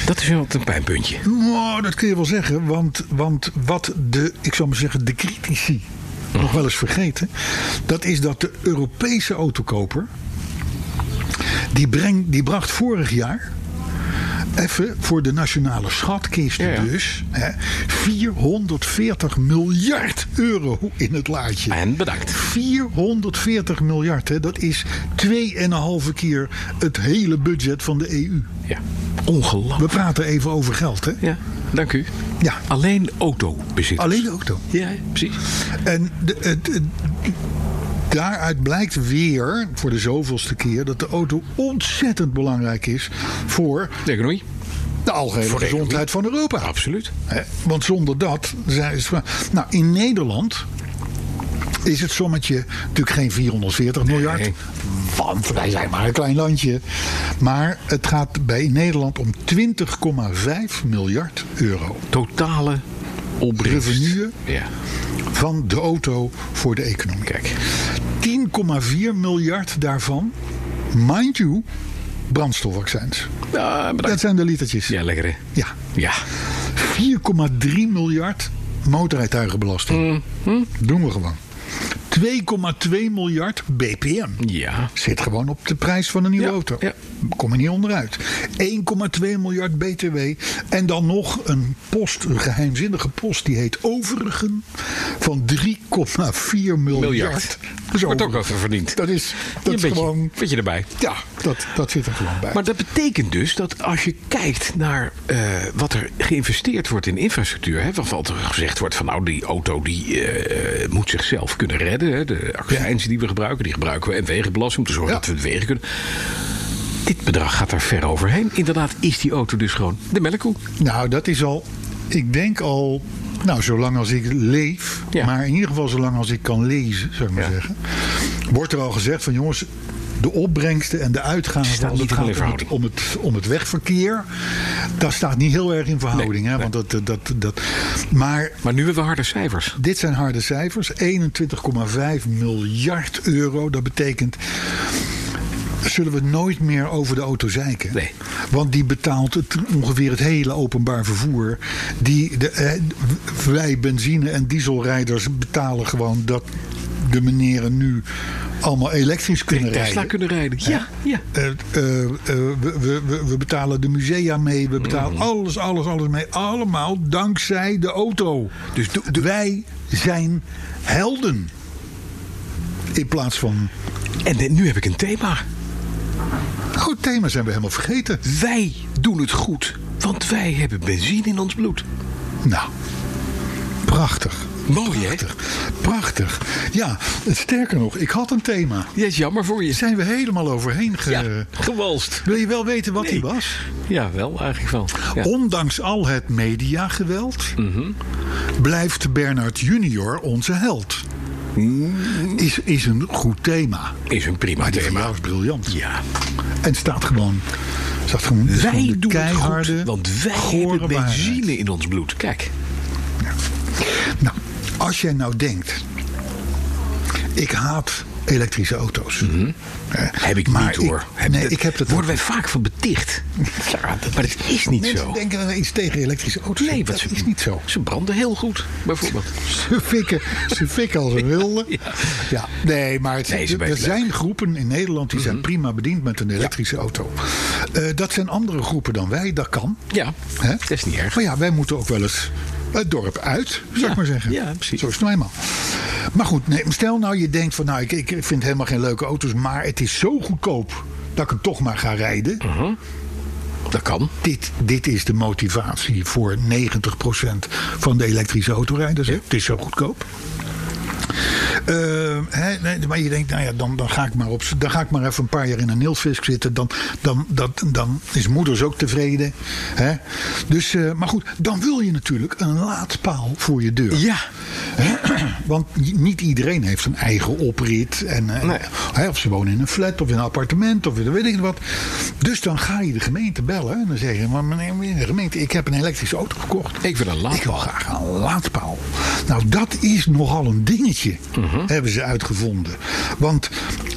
[SPEAKER 2] Dat is wel een pijnpuntje.
[SPEAKER 3] Nou, dat kun je wel zeggen, want, want wat de, ik zou maar zeggen, de critici nog wel eens vergeten, dat is dat de Europese autokoper, die, breng, die bracht vorig jaar, even voor de nationale schatkisten
[SPEAKER 2] Ja, ja.
[SPEAKER 3] dus, hè, 440 miljard euro in het laadje.
[SPEAKER 2] En bedankt.
[SPEAKER 3] 440 miljard, hè, dat is 2,5 keer het hele budget van de EU.
[SPEAKER 2] Ja.
[SPEAKER 3] We
[SPEAKER 2] Ongelooflijk.
[SPEAKER 3] praten even over geld, hè?
[SPEAKER 2] Ja, dank u.
[SPEAKER 3] Ja.
[SPEAKER 2] Alleen autobezit.
[SPEAKER 3] Alleen de auto.
[SPEAKER 2] Ja, precies.
[SPEAKER 3] En de, het- het- daaruit blijkt weer, voor de zoveelste keer, dat de auto ontzettend belangrijk is voor
[SPEAKER 2] De economie.
[SPEAKER 3] de algehele
[SPEAKER 2] Voor de
[SPEAKER 3] gezondheid van Europa.
[SPEAKER 2] Absoluut.
[SPEAKER 3] Hè, Want zonder dat. zijn ze- Nou, in Nederland. Is het sommetje natuurlijk geen 440 miljard?
[SPEAKER 2] Nee.
[SPEAKER 3] Want wij zijn maar een klein landje. Maar het gaat bij Nederland om 20,5 miljard euro.
[SPEAKER 2] Totale opbrengst.
[SPEAKER 3] Revenue.
[SPEAKER 2] Ja.
[SPEAKER 3] van de auto voor de economie.
[SPEAKER 2] Kijk.
[SPEAKER 3] 10,4 miljard daarvan, mind you, brandstofvaccins.
[SPEAKER 2] Ja, Ah, bedankt.
[SPEAKER 3] Dat zijn de litertjes.
[SPEAKER 2] Ja, lekker hè.
[SPEAKER 3] Ja.
[SPEAKER 2] Ja.
[SPEAKER 3] 4,3 miljard motorrijtuigenbelasting.
[SPEAKER 2] Mm,
[SPEAKER 3] Doen we gewoon. 2,2 miljard BPM.
[SPEAKER 2] Ja.
[SPEAKER 3] Zit gewoon op de prijs van een nieuwe
[SPEAKER 2] Ja,
[SPEAKER 3] auto.
[SPEAKER 2] ja.
[SPEAKER 3] Kom je niet onderuit. 1,2 miljard BTW. En dan nog een post, een geheimzinnige post, die heet Overigen. Van 3,4 miljard.
[SPEAKER 2] Miljard.
[SPEAKER 3] Dat is
[SPEAKER 2] Wordt ook
[SPEAKER 3] overigen.
[SPEAKER 2] wel verdiend.
[SPEAKER 3] Dat is,
[SPEAKER 2] Een
[SPEAKER 3] dat is
[SPEAKER 2] beetje,
[SPEAKER 3] gewoon.
[SPEAKER 2] beetje erbij.
[SPEAKER 3] Ja, dat, dat zit er gewoon bij.
[SPEAKER 2] Maar dat betekent dus dat als je kijkt naar eh, wat er geïnvesteerd wordt in infrastructuur, hè, waarvan er gezegd wordt van nou die auto die eh, moet zichzelf kunnen redden. Hè, de accijns die we gebruiken, die gebruiken we en wegenbelasting om te zorgen
[SPEAKER 3] Ja.
[SPEAKER 2] dat we het wegen kunnen. Dit bedrag gaat daar ver overheen. Inderdaad is die auto dus gewoon de melkkoe.
[SPEAKER 3] Nou, dat is al, ik denk al, nou, zolang als ik leef,
[SPEAKER 2] Ja.
[SPEAKER 3] maar in ieder geval zolang als ik kan lezen, zou ik maar
[SPEAKER 2] Ja.
[SPEAKER 3] zeggen, wordt er al gezegd van jongens, de opbrengsten en de uitgaven
[SPEAKER 2] Staat
[SPEAKER 3] als
[SPEAKER 2] niet
[SPEAKER 3] het
[SPEAKER 2] heel
[SPEAKER 3] gaat
[SPEAKER 2] in
[SPEAKER 3] om het,
[SPEAKER 2] verhouding.
[SPEAKER 3] om, het, om het wegverkeer, dat staat niet heel erg in verhouding. hè, want dat, dat, dat, maar
[SPEAKER 2] Maar nu hebben we harde cijfers.
[SPEAKER 3] dit zijn harde cijfers. 21,5 miljard euro. Dat betekent. Zullen we nooit meer over de auto zeiken?
[SPEAKER 2] Nee.
[SPEAKER 3] Want die betaalt het, ongeveer het hele openbaar vervoer. Die, de, eh, wij benzine- en dieselrijders betalen gewoon dat de meneren nu allemaal elektrisch kunnen
[SPEAKER 2] Tesla
[SPEAKER 3] rijden.
[SPEAKER 2] kunnen rijden. Ja, ja.
[SPEAKER 3] Eh, eh, eh, we, we, we- we betalen de musea mee, we betalen
[SPEAKER 2] Mm.
[SPEAKER 3] alles, alles, alles mee. Allemaal dankzij de auto. Dus wij zijn helden. In plaats van.
[SPEAKER 2] En de- nu heb ik een thema.
[SPEAKER 3] Goed oh, thema zijn we helemaal vergeten.
[SPEAKER 2] Wij doen het goed, want wij hebben benzine in ons bloed.
[SPEAKER 3] Nou, prachtig.
[SPEAKER 2] Mooi hè?
[SPEAKER 3] Prachtig. Prachtig. Ja, sterker nog, ik had een thema.
[SPEAKER 2] Ja, is jammer voor je.
[SPEAKER 3] Zijn we helemaal overheen ge...
[SPEAKER 2] Ja, gewalst.
[SPEAKER 3] Wil je wel weten wat die
[SPEAKER 2] Nee.
[SPEAKER 3] was?
[SPEAKER 2] Ja, wel eigenlijk wel. Ja.
[SPEAKER 3] Ondanks al het mediageweld blijft Bernard Junior onze held. Is, is een goed thema.
[SPEAKER 2] Is een prima
[SPEAKER 3] Maar die van
[SPEAKER 2] thema.
[SPEAKER 3] jou is briljant.
[SPEAKER 2] Ja.
[SPEAKER 3] En staat gewoon. Staat gewoon het is gewoon
[SPEAKER 2] Wij
[SPEAKER 3] de
[SPEAKER 2] doen het goed,
[SPEAKER 3] keiharde,
[SPEAKER 2] want wij
[SPEAKER 3] gore
[SPEAKER 2] hebben benzine
[SPEAKER 3] waarheid.
[SPEAKER 2] in ons bloed. Kijk,
[SPEAKER 3] Nou, als jij nou denkt. Ik haat elektrische auto's.
[SPEAKER 2] Mhm.
[SPEAKER 3] Eh,
[SPEAKER 2] heb ik
[SPEAKER 3] maar
[SPEAKER 2] niet hoor.
[SPEAKER 3] Ik, nee, ik heb dat
[SPEAKER 2] Worden wij vaak van beticht. Ja, dat- maar dat is niet
[SPEAKER 3] Mensen
[SPEAKER 2] zo.
[SPEAKER 3] denken dat er iets tegen elektrische auto's
[SPEAKER 2] Nee,
[SPEAKER 3] is.
[SPEAKER 2] wat
[SPEAKER 3] dat
[SPEAKER 2] ze,
[SPEAKER 3] is niet zo.
[SPEAKER 2] Ze branden heel goed, bijvoorbeeld.
[SPEAKER 3] Ze fikken, ze fikken als een wilde.
[SPEAKER 2] ja.
[SPEAKER 3] Ja. Nee, maar het,
[SPEAKER 2] Nee, ze
[SPEAKER 3] er
[SPEAKER 2] weten Mhm.
[SPEAKER 3] zijn groepen in Nederland die zijn prima bediend met een elektrische auto. Eh, dat zijn andere groepen dan wij, dat kan.
[SPEAKER 2] Ja,
[SPEAKER 3] Hè?
[SPEAKER 2] dat is niet erg.
[SPEAKER 3] Maar ja, wij moeten ook wel eens het dorp uit, zou
[SPEAKER 2] Ja,
[SPEAKER 3] ik maar zeggen.
[SPEAKER 2] ja, precies.
[SPEAKER 3] Zo is het nou eenmaal. Maar goed, nee, stel nou je denkt van... nou, ik, ik vind helemaal geen leuke auto's... maar het is zo goedkoop dat ik hem toch maar ga rijden.
[SPEAKER 2] Mhm. Dat kan.
[SPEAKER 3] Dit, dit is de motivatie voor 90% van de elektrische autorijders. hè. Het is zo goedkoop. Eh, hè, nee, maar je denkt, nou ja, dan, dan, ga ik maar op, z'n- dan ga ik maar even een paar jaar in een nilfisk zitten. Dan, dan, dat, dan is moeders ook tevreden. Hè? Dus, eh, maar goed, dan wil je natuurlijk een laadpaal voor je deur.
[SPEAKER 2] Ja.
[SPEAKER 3] Hè? Want niet iedereen heeft een eigen oprit. En, eh,
[SPEAKER 2] Nee.
[SPEAKER 3] hè, of ze wonen in een flat of in een appartement of in- weet ik wat. Dus dan ga je de gemeente bellen. En dan zeg je, maar meneer meneer de gemeente, ik heb een elektrische auto gekocht.
[SPEAKER 2] Ik wil een laadpaal.
[SPEAKER 3] Ik wil graag een laadpaal. Nou, dat is nogal een dingetje.
[SPEAKER 2] Mhm.
[SPEAKER 3] hebben ze uitgevonden. Want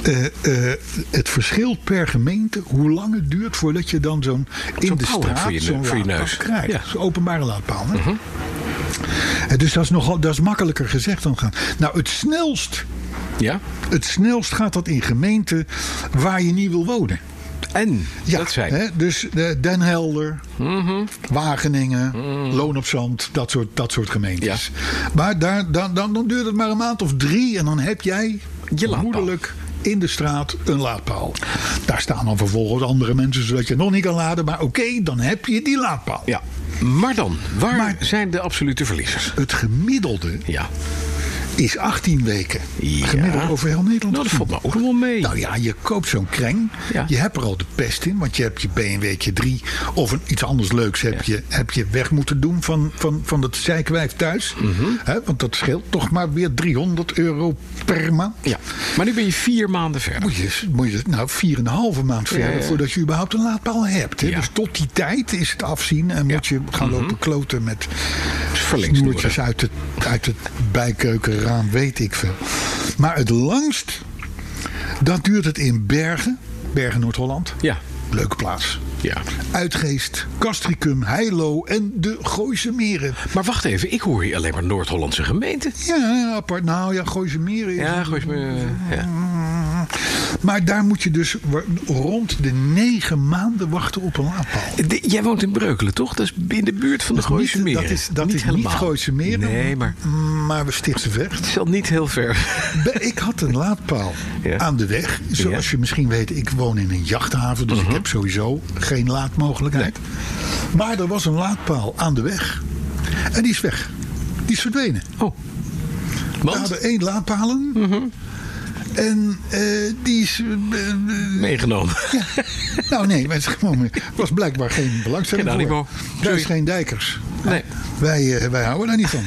[SPEAKER 3] eh, eh, het verschilt per gemeente hoe lang het duurt voordat je dan zo'n in
[SPEAKER 2] Zo'n
[SPEAKER 3] de
[SPEAKER 2] paal hebt
[SPEAKER 3] straat
[SPEAKER 2] voor je ne-
[SPEAKER 3] zo'n
[SPEAKER 2] voor je
[SPEAKER 3] laadpaal
[SPEAKER 2] neus.
[SPEAKER 3] krijgt.
[SPEAKER 2] Ja. Mhm.
[SPEAKER 3] Zo'n openbare laadpaal. Hè? Eh, Dus dat is, nogal, dat is makkelijker gezegd dan gaan. Nou, het snelst,
[SPEAKER 2] Ja.
[SPEAKER 3] het snelst gaat dat in gemeenten waar je niet wil wonen.
[SPEAKER 2] En, dat Mhm. zijn.
[SPEAKER 3] hè, dus eh, Den Helder, Wageningen,
[SPEAKER 2] Mhm.
[SPEAKER 3] Loon op Zand, dat soort, dat soort gemeentes. Maar daar, dan, dan, dan duurt het maar een maand of drie en dan heb jij
[SPEAKER 2] Je laadpaal.
[SPEAKER 3] vermoedelijk in de straat een laadpaal. Daar staan dan vervolgens andere mensen zodat je nog niet kan laden. Maar oké, dan heb je die laadpaal.
[SPEAKER 2] Ja. Maar dan, waar
[SPEAKER 3] Maar-
[SPEAKER 2] zijn de absolute verliezers?
[SPEAKER 3] Het gemiddelde
[SPEAKER 2] Ja.
[SPEAKER 3] is 18 weken.
[SPEAKER 2] Ja.
[SPEAKER 3] Gemiddeld over heel Nederland.
[SPEAKER 2] Nou, dat
[SPEAKER 3] gezien.
[SPEAKER 2] valt me ook nog wel mee.
[SPEAKER 3] Nou ja, je koopt zo'n kreng.
[SPEAKER 2] Ja.
[SPEAKER 3] Je hebt er al de pest in, want je hebt je BMW'tje 3 of een, iets anders leuks heb, je, heb je weg moeten doen van, van, van dat zeikwijf thuis.
[SPEAKER 2] Mhm.
[SPEAKER 3] Hè, want dat scheelt toch maar weer 300 euro per maand.
[SPEAKER 2] ja. Maar nu ben je vier maanden verder.
[SPEAKER 3] Moet je, moet je nou 4,5 maand verder
[SPEAKER 2] ja.
[SPEAKER 3] voordat je überhaupt een laadpaal hebt. Hè?
[SPEAKER 2] Ja. Mhm.
[SPEAKER 3] Dus tot die tijd is het afzien en moet je gaan lopen kloten met
[SPEAKER 2] Verlengsnoeren.
[SPEAKER 3] snoertjes uit het, uit het bijkeukenraam, weet ik veel. Maar het langst, dat duurt het in Bergen, Bergen Noord-Holland.
[SPEAKER 2] Ja.
[SPEAKER 3] Leuke plaats.
[SPEAKER 2] Ja.
[SPEAKER 3] Uitgeest, Castricum, Heilo en de Gooise Meren.
[SPEAKER 2] Maar wacht even, ik hoor hier alleen maar Noord-Hollandse gemeenten.
[SPEAKER 3] Ja, apart. Nou ja, Gooise Meren is Mm.
[SPEAKER 2] Ja, gooi eens
[SPEAKER 3] eh,
[SPEAKER 2] me. Ja.
[SPEAKER 3] Maar daar moet je dus wa- rond de negen maanden wachten op een laadpaal.
[SPEAKER 2] De- jij woont in Breukelen, toch? Dat is in de buurt van de
[SPEAKER 3] Dat is
[SPEAKER 2] Gooise
[SPEAKER 3] niet-
[SPEAKER 2] Meren.
[SPEAKER 3] Dat is, dat is
[SPEAKER 2] helemaal.
[SPEAKER 3] niet Gooise Meren.
[SPEAKER 2] Nee, maar
[SPEAKER 3] Maar we stichten vecht.
[SPEAKER 2] het is al niet heel ver.
[SPEAKER 3] Be- Ik had een laadpaal
[SPEAKER 2] Ja.
[SPEAKER 3] aan de weg. Zoals
[SPEAKER 2] Ja. Mhm.
[SPEAKER 3] je misschien weet, ik woon in een jachthaven. Dus ik heb sowieso geen laadmogelijkheid. Maar er was een laadpaal aan de weg. En die is weg. Die is verdwenen.
[SPEAKER 2] Oh.
[SPEAKER 3] We
[SPEAKER 2] Want? Mhm.
[SPEAKER 3] hadden één laadpalen. En eh, die is... eh, eh,
[SPEAKER 2] Meegenomen.
[SPEAKER 3] Nou nee, maar het is gewoon- er was blijkbaar geen belangstelling
[SPEAKER 2] Geen animo.
[SPEAKER 3] voor. Er
[SPEAKER 2] Sorry.
[SPEAKER 3] is geen dijkers.
[SPEAKER 2] Nee.
[SPEAKER 3] Wij, eh, wij houden daar niet van.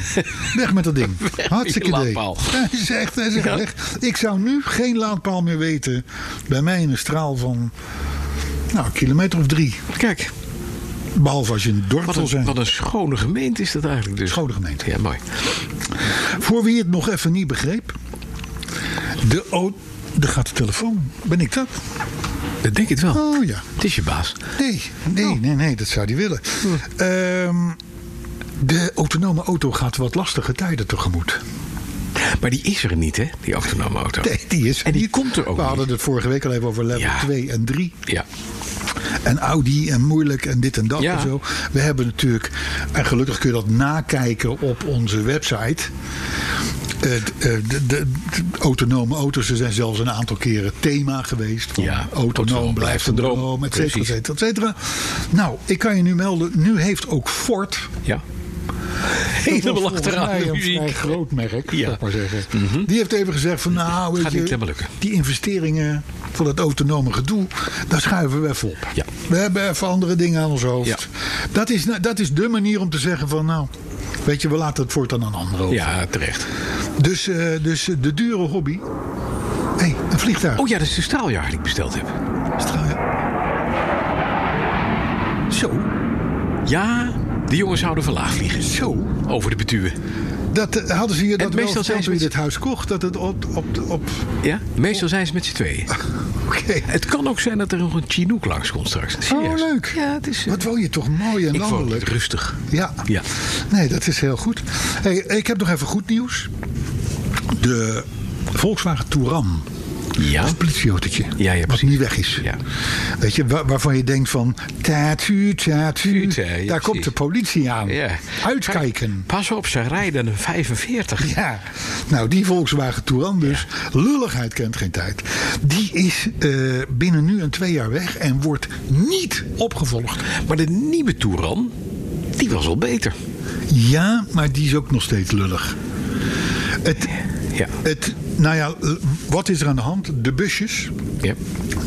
[SPEAKER 3] Weg met dat ding.
[SPEAKER 2] met
[SPEAKER 3] Hartstikke
[SPEAKER 2] je
[SPEAKER 3] idee.
[SPEAKER 2] laadpaal.
[SPEAKER 3] Hij zegt, hij zegt
[SPEAKER 2] Ja.
[SPEAKER 3] echt, ik zou nu geen laadpaal meer weten. Bij mij in een straal van nou, een kilometer of drie.
[SPEAKER 2] Kijk,
[SPEAKER 3] Behalve als je in het dorp
[SPEAKER 2] wat
[SPEAKER 3] wil
[SPEAKER 2] een,
[SPEAKER 3] zijn.
[SPEAKER 2] wat een schone gemeente is dat eigenlijk dus.
[SPEAKER 3] Schone gemeente.
[SPEAKER 2] Ja, mooi.
[SPEAKER 3] Voor wie het nog even niet begreep. De, oh, daar gaat de telefoon. Ben ik dat?
[SPEAKER 2] Dat denk ik wel.
[SPEAKER 3] Oh ja.
[SPEAKER 2] Het is je baas.
[SPEAKER 3] Nee, nee,
[SPEAKER 2] Oh.
[SPEAKER 3] nee, nee, dat zou hij willen. Ehm, de autonome auto gaat wat lastige tijden tegemoet.
[SPEAKER 2] Maar die is er niet, hè? Die autonome auto.
[SPEAKER 3] Nee, die is
[SPEAKER 2] En die
[SPEAKER 3] niet.
[SPEAKER 2] komt er ook
[SPEAKER 3] We hadden
[SPEAKER 2] niet.
[SPEAKER 3] het vorige week al even over level
[SPEAKER 2] Ja.
[SPEAKER 3] 2 en 3.
[SPEAKER 2] Ja.
[SPEAKER 3] En Audi en moeilijk en dit en dat
[SPEAKER 2] Ja.
[SPEAKER 3] en zo. We hebben natuurlijk, en gelukkig kun je dat nakijken op onze website. Eh, d- eh, de, de, de autonome auto's, er zijn zelfs een aantal keren thema geweest. Van
[SPEAKER 2] Ja,
[SPEAKER 3] autonoom blijft een droom, et cetera, et
[SPEAKER 2] Precies.
[SPEAKER 3] cetera, et cetera. Nou, ik kan je nu melden, nu heeft ook Ford
[SPEAKER 2] Ja.
[SPEAKER 3] dat was
[SPEAKER 2] Helemaal
[SPEAKER 3] volgens
[SPEAKER 2] achteraan.
[SPEAKER 3] mij
[SPEAKER 2] de
[SPEAKER 3] een vrij
[SPEAKER 2] muziek.
[SPEAKER 3] groot
[SPEAKER 2] Ja.
[SPEAKER 3] merk,
[SPEAKER 2] Mhm.
[SPEAKER 3] zal ik maar zeggen. Die heeft even gezegd van nou, weet
[SPEAKER 2] Gaat
[SPEAKER 3] je,
[SPEAKER 2] niet helemaal lukken.
[SPEAKER 3] die investeringen voor dat autonome gedoe, daar schuiven we even op.
[SPEAKER 2] Ja.
[SPEAKER 3] We hebben even andere dingen aan ons hoofd.
[SPEAKER 2] Ja.
[SPEAKER 3] Dat, is, nou, dat is de manier om te zeggen van nou, weet je, we laten het voortaan aan anderen over.
[SPEAKER 2] Ja, terecht.
[SPEAKER 3] Dus, eh, dus eh, de dure hobby. Hé, hey, een vliegtuig.
[SPEAKER 2] Oh ja, dat is de straaljager die ik besteld heb.
[SPEAKER 3] Zo,
[SPEAKER 2] Ja, die jongens houden van laag vliegen.
[SPEAKER 3] zo.
[SPEAKER 2] Over de betuwen.
[SPEAKER 3] Dat eh, hadden ze je dat wel
[SPEAKER 2] meestal zijn ze
[SPEAKER 3] verteld toen je
[SPEAKER 2] met-
[SPEAKER 3] dit huis kocht. Dat het op... op, op
[SPEAKER 2] Ja? Meestal zijn ze met z'n tweeën.
[SPEAKER 3] Oké.
[SPEAKER 2] Het kan ook zijn dat er nog een Chinook langs komt straks. Serieus.
[SPEAKER 3] Oh, leuk.
[SPEAKER 2] Ja, het is... eh,
[SPEAKER 3] Wat woon je toch mooi en
[SPEAKER 2] ik vond het
[SPEAKER 3] landelijk.
[SPEAKER 2] rustig.
[SPEAKER 3] Ja.
[SPEAKER 2] Ja.
[SPEAKER 3] Nee, dat is heel goed. Hey, ik heb nog even goed nieuws. De Volkswagen Touran.
[SPEAKER 2] Ja.
[SPEAKER 3] Dat is een politieautootje.
[SPEAKER 2] ja,
[SPEAKER 3] wat
[SPEAKER 2] precies.
[SPEAKER 3] niet weg is.
[SPEAKER 2] Ja.
[SPEAKER 3] Weet je, wa- waarvan je denkt van... Tatu, tatu.
[SPEAKER 2] Tuut, hè, ja,
[SPEAKER 3] Daar
[SPEAKER 2] precies.
[SPEAKER 3] komt de politie aan.
[SPEAKER 2] Ja.
[SPEAKER 3] Uitkijken.
[SPEAKER 2] Pas op, ze rijden een 45.
[SPEAKER 3] Ja, nou die Volkswagen Touran dus, lulligheid kent geen tijd. Die is eh, binnen nu en twee jaar weg en wordt niet opgevolgd.
[SPEAKER 2] Maar de nieuwe Touran, die was al beter.
[SPEAKER 3] Ja, maar die is ook nog steeds lullig. Het,
[SPEAKER 2] Ja.
[SPEAKER 3] het, nou ja, eh, wat is er aan de hand? De busjes,
[SPEAKER 2] Ja.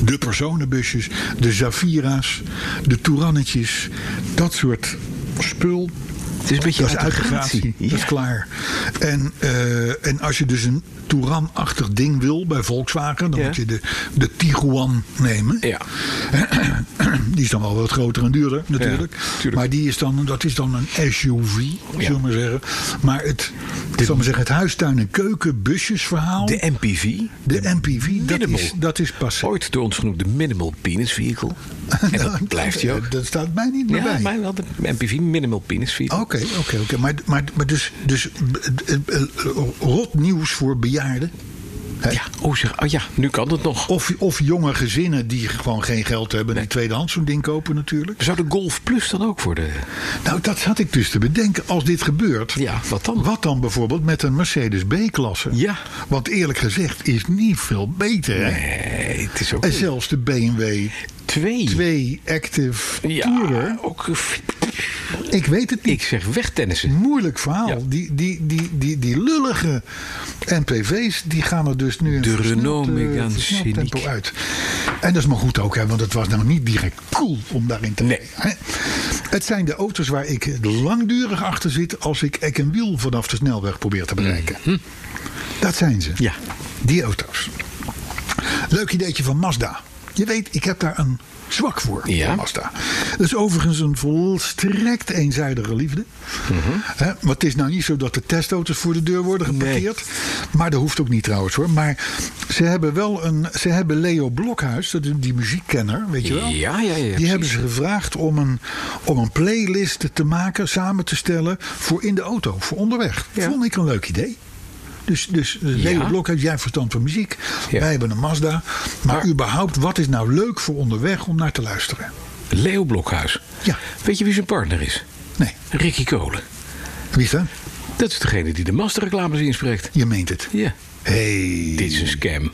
[SPEAKER 3] de personenbusjes, de Zafira's, de Tourannetjes, dat soort spul.
[SPEAKER 2] Het is een beetje
[SPEAKER 3] Dat is
[SPEAKER 2] uit de
[SPEAKER 3] uitgradatie.
[SPEAKER 2] gratie.
[SPEAKER 3] Dat is
[SPEAKER 2] Ja.
[SPEAKER 3] klaar. En, eh, en als je dus een Touran-achtig ding wil bij Volkswagen, dan
[SPEAKER 2] Ja.
[SPEAKER 3] moet je de, de Tiguan nemen.
[SPEAKER 2] Ja.
[SPEAKER 3] Die is dan wel wat groter en duurder natuurlijk.
[SPEAKER 2] Ja, tuurlijk.
[SPEAKER 3] maar die is dan, dat is dan een SUV, zullen we maar zeggen. Maar het, zullen we maar zeggen, het huistuin- en keukenbusjesverhaal,
[SPEAKER 2] De
[SPEAKER 3] de,
[SPEAKER 2] MPV.
[SPEAKER 3] MPV, dat
[SPEAKER 2] minimal.
[SPEAKER 3] is, dat is passé.
[SPEAKER 2] Ooit door ons genoemd de minimal penis vehicle. En dat blijft je ook.
[SPEAKER 3] Dat staat mij niet meer
[SPEAKER 2] Ja,
[SPEAKER 3] bij.
[SPEAKER 2] mijn land, de MPV, minimal penis vehicle.
[SPEAKER 3] Oké, oké, oké. Maar, maar, maar dus, dus eh, eh, eh, rot nieuws voor bejaarden. Hè?
[SPEAKER 2] Ja, oh, zeg, oh ja, nu kan het nog.
[SPEAKER 3] Of, of jonge gezinnen die gewoon geen geld hebben en tweedehands zo'n ding kopen natuurlijk.
[SPEAKER 2] Zou de Golf Plus dan ook worden?
[SPEAKER 3] Nou, dat had ik dus te bedenken. Als dit gebeurt,
[SPEAKER 2] Ja, wat dan?
[SPEAKER 3] wat dan bijvoorbeeld met een Mercedes B-klasse?
[SPEAKER 2] Ja.
[SPEAKER 3] Want eerlijk gezegd is niet veel beter. hè?
[SPEAKER 2] Nee, het is ook
[SPEAKER 3] En zelfs de BMW
[SPEAKER 2] twee.
[SPEAKER 3] 2 Active
[SPEAKER 2] ja,
[SPEAKER 3] Tourer.
[SPEAKER 2] ook.
[SPEAKER 3] Ik weet het niet.
[SPEAKER 2] Ik zeg wegtennissen.
[SPEAKER 3] Moeilijk verhaal.
[SPEAKER 2] Ja.
[SPEAKER 3] Die, die, die, die, die lullige NPV's die gaan er dus nu in
[SPEAKER 2] De
[SPEAKER 3] versneld,
[SPEAKER 2] Renault
[SPEAKER 3] eh,
[SPEAKER 2] Megane
[SPEAKER 3] versneld
[SPEAKER 2] Scenic.
[SPEAKER 3] tempo uit. En dat is maar goed ook, hè, want het was nou niet direct cool om daarin te
[SPEAKER 2] Nee.
[SPEAKER 3] rijden, hè. Het zijn de auto's waar ik langdurig achter zit als ik ek en wiel vanaf de snelweg probeer te bereiken. Dat zijn ze.
[SPEAKER 2] Mhm. Ja.
[SPEAKER 3] Die auto's. Leuk ideetje van Mazda. Je weet, ik heb daar een zwak voor.
[SPEAKER 2] Ja.
[SPEAKER 3] voor Mazda. Dat is Dus overigens een volstrekt eenzijdige liefde.
[SPEAKER 2] Mhm.
[SPEAKER 3] Hè, want het is nou niet zo dat de testauto's voor de deur worden geparkeerd. Maar dat hoeft ook niet trouwens hoor. Maar ze hebben wel een. Ze hebben Leo Blokhuis, dat is die muziekkenner, weet je wel.
[SPEAKER 2] Ja, ja, ja,
[SPEAKER 3] Die
[SPEAKER 2] precies.
[SPEAKER 3] hebben ze gevraagd om een, om een playlist te maken, samen te stellen. voor in de auto, voor onderweg.
[SPEAKER 2] Ja.
[SPEAKER 3] Vond ik een leuk idee. Dus, dus eh, Leo
[SPEAKER 2] Ja.
[SPEAKER 3] Blokhuis, jij hebt verstand van muziek.
[SPEAKER 2] Ja.
[SPEAKER 3] Wij hebben een Mazda. Maar,
[SPEAKER 2] Maar-
[SPEAKER 3] überhaupt, wat is nou leuk voor onderweg om naar te luisteren?
[SPEAKER 2] Leo Blokhuis.
[SPEAKER 3] Ja.
[SPEAKER 2] Weet je wie zijn partner is?
[SPEAKER 3] Nee,
[SPEAKER 2] Ricky Kolen.
[SPEAKER 3] wie is dat?
[SPEAKER 2] Dat is degene die de masterreclames inspreekt.
[SPEAKER 3] Je meent het.
[SPEAKER 2] Ja.
[SPEAKER 3] Hey,
[SPEAKER 2] Dit is een scam.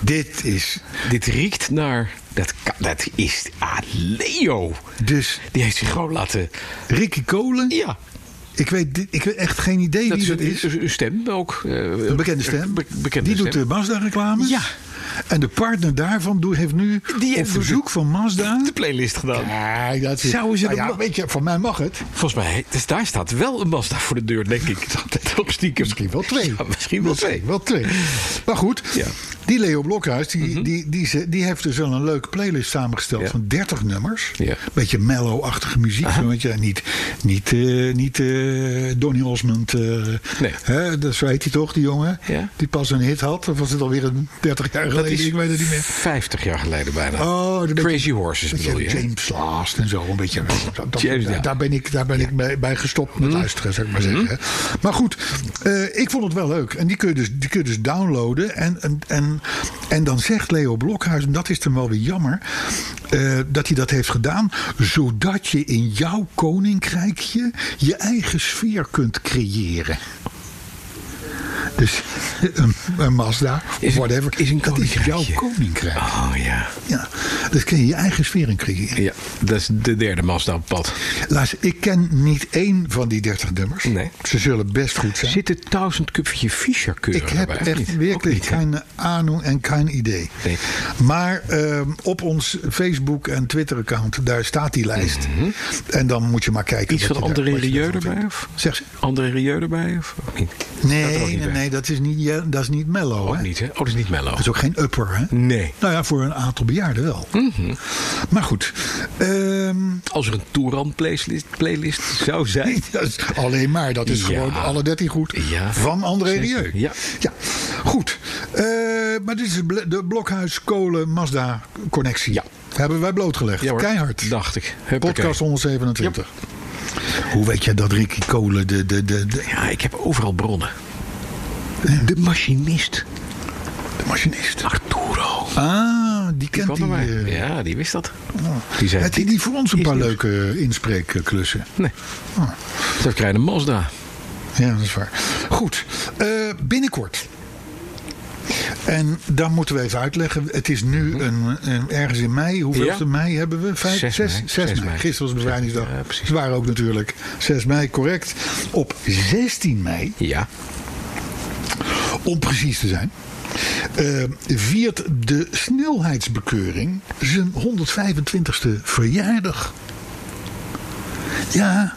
[SPEAKER 3] dit is.
[SPEAKER 2] Dit riekt naar. Dat, kan- dat is. Ah, Leo.
[SPEAKER 3] Dus
[SPEAKER 2] Die heeft zich gewoon laten.
[SPEAKER 3] Ricky Kolen.
[SPEAKER 2] Ja.
[SPEAKER 3] Ik, weet, dit- ik weet echt geen idee
[SPEAKER 2] Dat
[SPEAKER 3] wie
[SPEAKER 2] is
[SPEAKER 3] dat is.
[SPEAKER 2] een, een stem ook. eh,
[SPEAKER 3] Een bekende stem.
[SPEAKER 2] be- bekende
[SPEAKER 3] die doet
[SPEAKER 2] stem.
[SPEAKER 3] de Mazda-reclames.
[SPEAKER 2] Ja.
[SPEAKER 3] En de partner daarvan doe- heeft nu
[SPEAKER 2] Die
[SPEAKER 3] op
[SPEAKER 2] heeft dus-
[SPEAKER 3] verzoek van Mazda.
[SPEAKER 2] de playlist gedaan.
[SPEAKER 3] Ja, dat is,
[SPEAKER 2] Zouden ze
[SPEAKER 3] nou
[SPEAKER 2] de
[SPEAKER 3] ja,
[SPEAKER 2] ma-
[SPEAKER 3] weet je, voor mij mag het.
[SPEAKER 2] Volgens mij, dus daar staat wel een Mazda voor de deur, denk ik. Dat op stiekem.
[SPEAKER 3] Misschien wel twee.
[SPEAKER 2] Ja, misschien wel twee.
[SPEAKER 3] Wel twee. Maar goed,
[SPEAKER 2] Ja. Mhm.
[SPEAKER 3] die Leo Blokhuis die, die, die, ze- die heeft dus wel een leuke playlist samengesteld
[SPEAKER 2] Ja.
[SPEAKER 3] van 30 nummers.
[SPEAKER 2] Ja.
[SPEAKER 3] Beetje mellow-achtige muziek. zo, Weet je, niet niet, eh, niet eh, Donny Osmond. eh, hè, dat, zo heet hij toch, die jongen?
[SPEAKER 2] Ja.
[SPEAKER 3] Die pas een hit had. Of was het alweer een 30 jaar geleden? Ik weet het niet meer.
[SPEAKER 2] 50 jaar geleden bijna.
[SPEAKER 3] Oh, een beetje-
[SPEAKER 2] Crazy Horses
[SPEAKER 3] Weet
[SPEAKER 2] bedoel je. hè?
[SPEAKER 3] James Last en zo. Een beetje, dat- dat-
[SPEAKER 2] James, ja. Mhm.
[SPEAKER 3] Daar ben ik, daar ben ik mee, bij gestopt met luisteren, zou ik maar zeggen. Maar goed, eh, ik vond het wel leuk. En die kun je dus, die kun je dus downloaden. En, en, en, en dan zegt Leo Blokhuis, en dat is dan wel weer jammer... eh, dat hij dat heeft gedaan, zodat je in jouw koninkrijkje... je eigen sfeer kunt creëren. Dus een, een Mazda,
[SPEAKER 2] Is
[SPEAKER 3] of
[SPEAKER 2] een-
[SPEAKER 3] whatever,
[SPEAKER 2] is een
[SPEAKER 3] dat is jouw
[SPEAKER 2] koninkrijkje.
[SPEAKER 3] koninkrijk.
[SPEAKER 2] Oh ja.
[SPEAKER 3] Ja, dus kun je je eigen sfeer in creëren.
[SPEAKER 2] Ja, dat is de derde Mazda op pad.
[SPEAKER 3] Luister, ik ken niet één van die 30 nummers.
[SPEAKER 2] Nee.
[SPEAKER 3] Ze zullen best goed zijn.
[SPEAKER 2] Zit het duizend cupje Fischer keuren
[SPEAKER 3] ik heb
[SPEAKER 2] erbij?
[SPEAKER 3] echt
[SPEAKER 2] Niet. Ook
[SPEAKER 3] werkelijk
[SPEAKER 2] niet, hè?
[SPEAKER 3] geen ahnung en geen idee.
[SPEAKER 2] Nee.
[SPEAKER 3] Maar ehm, op ons Facebook- en Twitter-account, daar staat die lijst. En dan moet je maar
[SPEAKER 2] Mhm.
[SPEAKER 3] kijken.
[SPEAKER 2] Iets
[SPEAKER 3] wat
[SPEAKER 2] van
[SPEAKER 3] je daar-
[SPEAKER 2] André
[SPEAKER 3] wat je
[SPEAKER 2] Rieu
[SPEAKER 3] daarvan
[SPEAKER 2] erbij?
[SPEAKER 3] vindt.
[SPEAKER 2] Of?
[SPEAKER 3] Zeg ze.
[SPEAKER 2] André Rieu erbij? Of ook niet?
[SPEAKER 3] Nee,
[SPEAKER 2] Staat er ook
[SPEAKER 3] nee,
[SPEAKER 2] niet bij.
[SPEAKER 3] nee, dat is niet, ja, dat is niet mellow.
[SPEAKER 2] Ook
[SPEAKER 3] hè?
[SPEAKER 2] niet, hè? Oh, dat is niet mellow.
[SPEAKER 3] Dat is ook geen upper, hè?
[SPEAKER 2] Nee. Mhm.
[SPEAKER 3] Nou ja, voor een aantal bejaarden wel. Maar goed. ehm,
[SPEAKER 2] Als er een Touran playlist, playlist zou zijn.
[SPEAKER 3] Dat is alleen maar, dat is
[SPEAKER 2] Ja.
[SPEAKER 3] gewoon alle 13 goed.
[SPEAKER 2] Ja.
[SPEAKER 3] Van André
[SPEAKER 2] Zeker.
[SPEAKER 3] Rieu.
[SPEAKER 2] Ja.
[SPEAKER 3] Goed. Eh, maar dit is de bl- de Blokhuis Kolen Mazda connectie.
[SPEAKER 2] Ja.
[SPEAKER 3] Hebben wij blootgelegd.
[SPEAKER 2] Ja, hoor.
[SPEAKER 3] Keihard.
[SPEAKER 2] Dacht ik. Huppakee.
[SPEAKER 3] Podcast 127. Hoe weet jij dat Ricky Kolen de, de, de, de,
[SPEAKER 2] Ja, ik heb overal bronnen. De machinist.
[SPEAKER 3] de machinist?
[SPEAKER 2] Arturo.
[SPEAKER 3] Ah, die
[SPEAKER 2] Die
[SPEAKER 3] kent
[SPEAKER 2] kwam
[SPEAKER 3] die.
[SPEAKER 2] erbij.
[SPEAKER 3] eh,
[SPEAKER 2] ja, die wist dat. Die zei,
[SPEAKER 3] Heeft hij niet voor ons een
[SPEAKER 2] is
[SPEAKER 3] paar
[SPEAKER 2] nieuws.
[SPEAKER 3] leuke inspreekklussen?
[SPEAKER 2] nee,
[SPEAKER 3] Ah,
[SPEAKER 2] dat krijg je een Mazda.
[SPEAKER 3] Ja, dat is waar. Goed, eh, binnenkort. En dan moeten we even uitleggen. Het is nu een, een- ergens in mei. Hoeveelste
[SPEAKER 2] Mhm. Ja.
[SPEAKER 3] mei hebben we? Vijf,
[SPEAKER 2] Zes
[SPEAKER 3] zes,
[SPEAKER 2] mei.
[SPEAKER 3] zes
[SPEAKER 2] Zes
[SPEAKER 3] mei.
[SPEAKER 2] mei.
[SPEAKER 3] Gisteren was bevrijdingsdag.
[SPEAKER 2] Ja, precies.
[SPEAKER 3] Zwaar ook natuurlijk. 6 mei, correct. Op 16 mei,
[SPEAKER 2] Ja.
[SPEAKER 3] om precies te zijn... eh, viert de snelheidsbekeuring zijn 125ste verjaardag. Ja,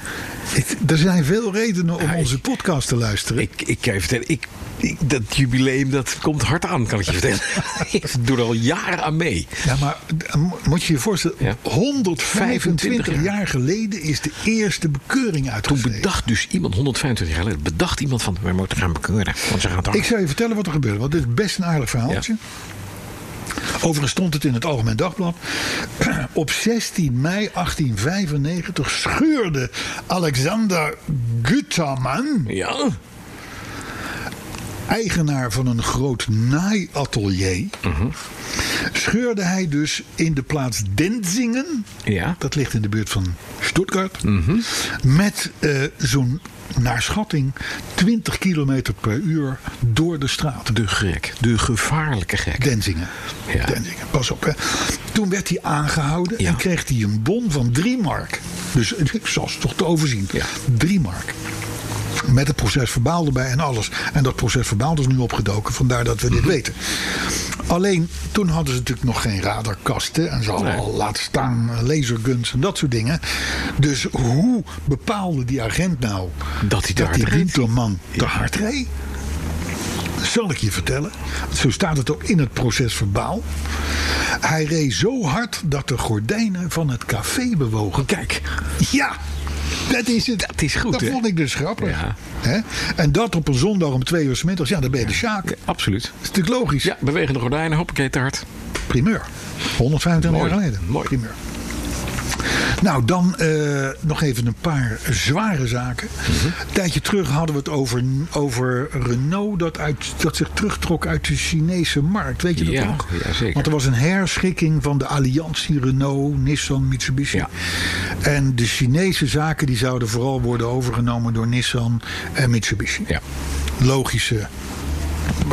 [SPEAKER 3] Ik- er zijn veel redenen om onze podcast te luisteren.
[SPEAKER 2] Ik, ik kan je vertellen, ik, ik- dat jubileum dat komt hard aan, kan ik je vertellen. ik doe er al jaren aan mee.
[SPEAKER 3] Ja, maar eh, mo- moet je je voorstellen,
[SPEAKER 2] Ja.
[SPEAKER 3] 125
[SPEAKER 2] jaar.
[SPEAKER 3] jaar geleden is de eerste bekeuring
[SPEAKER 2] Toen
[SPEAKER 3] uitgegeven.
[SPEAKER 2] bedacht dus iemand, 125 jaar geleden, bedacht iemand van... wij moeten gaan bekeuren, want ze gaan het
[SPEAKER 3] Ik zou je vertellen wat er gebeurde, want dit is best een aardig verhaaltje. Overigens stond het in het Algemeen Dagblad. Op 16 mei 1895 scheurde Alexander Gutaman,
[SPEAKER 2] Ja,
[SPEAKER 3] eigenaar van een groot naaiatelier,
[SPEAKER 2] Mhm.
[SPEAKER 3] scheurde hij dus in de plaats Denzingen,
[SPEAKER 2] ja.
[SPEAKER 3] dat ligt in de buurt van Stuttgart, met eh, zo'n naar schatting 20 kilometer per uur door de straat.
[SPEAKER 2] De gek, de gevaarlijke gek.
[SPEAKER 3] Denzingen.
[SPEAKER 2] Ja.
[SPEAKER 3] Denzingen, pas op. Hè. Toen werd hij aangehouden
[SPEAKER 2] Ja.
[SPEAKER 3] en kreeg hij een bon van 3 mark. Dus ik was toch te overzien.
[SPEAKER 2] Ja.
[SPEAKER 3] 3 mark. Met het proces verbaal erbij en alles. En dat proces verbaal is nu opgedoken, vandaar dat we dit
[SPEAKER 2] Mhm.
[SPEAKER 3] weten. Alleen toen hadden ze natuurlijk nog geen radarkasten. En ze hadden
[SPEAKER 2] Nee.
[SPEAKER 3] al laat staan eh, laserguns en dat soort dingen. Dus hoe bepaalde die agent nou
[SPEAKER 2] Dat hij te
[SPEAKER 3] dat
[SPEAKER 2] hard
[SPEAKER 3] die
[SPEAKER 2] reed?
[SPEAKER 3] Winterman te
[SPEAKER 2] Ja.
[SPEAKER 3] hard reed? zal ik je vertellen. Zo staat het ook in het proces verbaal. Hij reed zo hard dat de gordijnen van het café bewogen.
[SPEAKER 2] Kijk,
[SPEAKER 3] Ja, dat is het.
[SPEAKER 2] Dat is goed,
[SPEAKER 3] Dat
[SPEAKER 2] hè?
[SPEAKER 3] vond ik dus grappig.
[SPEAKER 2] Ja.
[SPEAKER 3] Hè? En dat op een zondag om twee uur 's middags. Ja, dan ben je de Sjaak.
[SPEAKER 2] ja, absoluut.
[SPEAKER 3] Dat is natuurlijk logisch.
[SPEAKER 2] Ja, bewegende gordijnen, hoppakee, te hard.
[SPEAKER 3] Primeur. 125
[SPEAKER 2] Mooi,
[SPEAKER 3] jaar geleden.
[SPEAKER 2] mooi.
[SPEAKER 3] Primeur. Nou, dan eh, nog even een paar zware zaken.
[SPEAKER 2] Mhm.
[SPEAKER 3] Een tijdje terug hadden we het over, over Renault dat, uit, dat zich terugtrok uit de Chinese markt. Weet je dat
[SPEAKER 2] Ja,
[SPEAKER 3] nog?
[SPEAKER 2] ja, zeker.
[SPEAKER 3] Want er was een herschikking van de alliantie Renault, Nissan, Mitsubishi.
[SPEAKER 2] Ja.
[SPEAKER 3] En de Chinese zaken die zouden vooral worden overgenomen door Nissan en Mitsubishi
[SPEAKER 2] Ja.
[SPEAKER 3] logische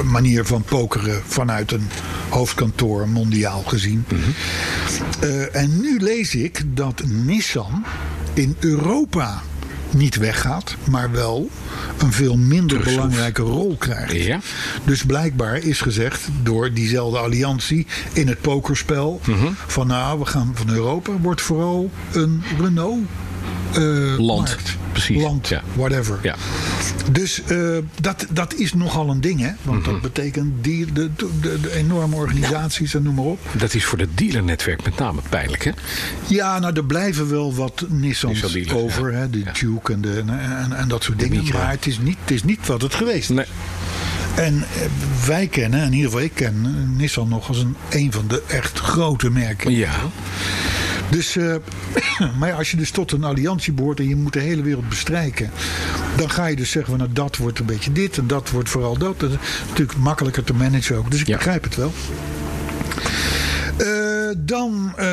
[SPEAKER 3] manier van pokeren vanuit een hoofdkantoor mondiaal gezien.
[SPEAKER 2] Mhm.
[SPEAKER 3] Eh, en nu lees ik dat Nissan in Europa niet weggaat, maar wel een veel minder
[SPEAKER 2] Terugschroeft.
[SPEAKER 3] belangrijke rol krijgt.
[SPEAKER 2] Ja.
[SPEAKER 3] Dus blijkbaar is gezegd door diezelfde alliantie in het pokerspel
[SPEAKER 2] Mhm.
[SPEAKER 3] van nou, we gaan van Europa wordt vooral een Renault eh,
[SPEAKER 2] Land.
[SPEAKER 3] markt.
[SPEAKER 2] Precies,
[SPEAKER 3] Land,
[SPEAKER 2] ja.
[SPEAKER 3] whatever.
[SPEAKER 2] Ja.
[SPEAKER 3] Dus eh, dat, dat is nogal een ding, hè? Want
[SPEAKER 2] Mhm.
[SPEAKER 3] dat betekent die, de, de, de- de enorme organisaties en noem maar op.
[SPEAKER 2] Dat is voor het dealernetwerk met name pijnlijk, hè?
[SPEAKER 3] Ja, nou, er blijven wel wat Nissans
[SPEAKER 2] Nissan dealers,
[SPEAKER 3] over.
[SPEAKER 2] ja.
[SPEAKER 3] Hè? De
[SPEAKER 2] Ja.
[SPEAKER 3] Duke en, de, en, en, en dat soort dingen.
[SPEAKER 2] Micra.
[SPEAKER 3] Maar het is, niet, het is niet wat het geweest is.
[SPEAKER 2] Nee.
[SPEAKER 3] En eh, wij kennen, in ieder geval ik ken eh, Nissan nog als een, een van de echt grote merken.
[SPEAKER 2] Ja,
[SPEAKER 3] Dus, eh, maar ja, als je dus tot een alliantie behoort en je moet de hele wereld bestrijken, dan ga je dus zeggen: van, nou, dat wordt een beetje dit en dat wordt vooral dat. Dat is natuurlijk makkelijker te managen ook. Dus ik
[SPEAKER 2] Ja.
[SPEAKER 3] begrijp het wel. Eh, dan eh,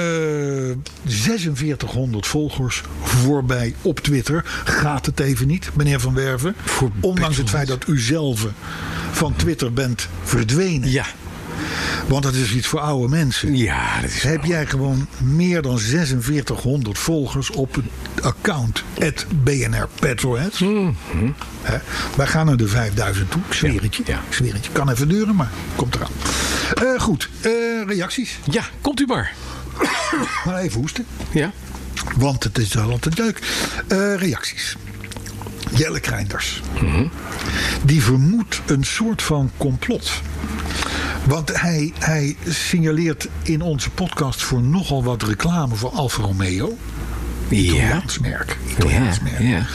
[SPEAKER 3] 4600 volgers voorbij op Twitter. Gaat het even niet, meneer Van Werven?
[SPEAKER 2] Voorbij
[SPEAKER 3] Ondanks
[SPEAKER 2] 100.
[SPEAKER 3] het feit dat u zelf van Twitter bent verdwenen.
[SPEAKER 2] ja.
[SPEAKER 3] Want dat is iets voor oude mensen.
[SPEAKER 2] ja Ah, dat is
[SPEAKER 3] Heb jij gewoon meer dan 4600 volgers op het account at BNR Petrolheads? Hè? Wij gaan naar de 5000 toe. Ik zweer het je.
[SPEAKER 2] Mhm. ja.
[SPEAKER 3] Ik zweer het je. Kan even duren, maar komt eraan. Eh, goed, eh, reacties.
[SPEAKER 2] Ja, komt u maar.
[SPEAKER 3] Maar even hoesten.
[SPEAKER 2] Ja.
[SPEAKER 3] Want het is wel altijd leuk. Eh, reacties. Jelle Kreinders.
[SPEAKER 2] Mhm.
[SPEAKER 3] Die vermoedt een soort van complot. Want hij, hij signaleert in onze podcast voor nogal wat reclame voor Alfa Romeo.
[SPEAKER 2] Ja.
[SPEAKER 3] Italiaans merk.
[SPEAKER 2] Ja,
[SPEAKER 3] Italiaans merk.
[SPEAKER 2] ja.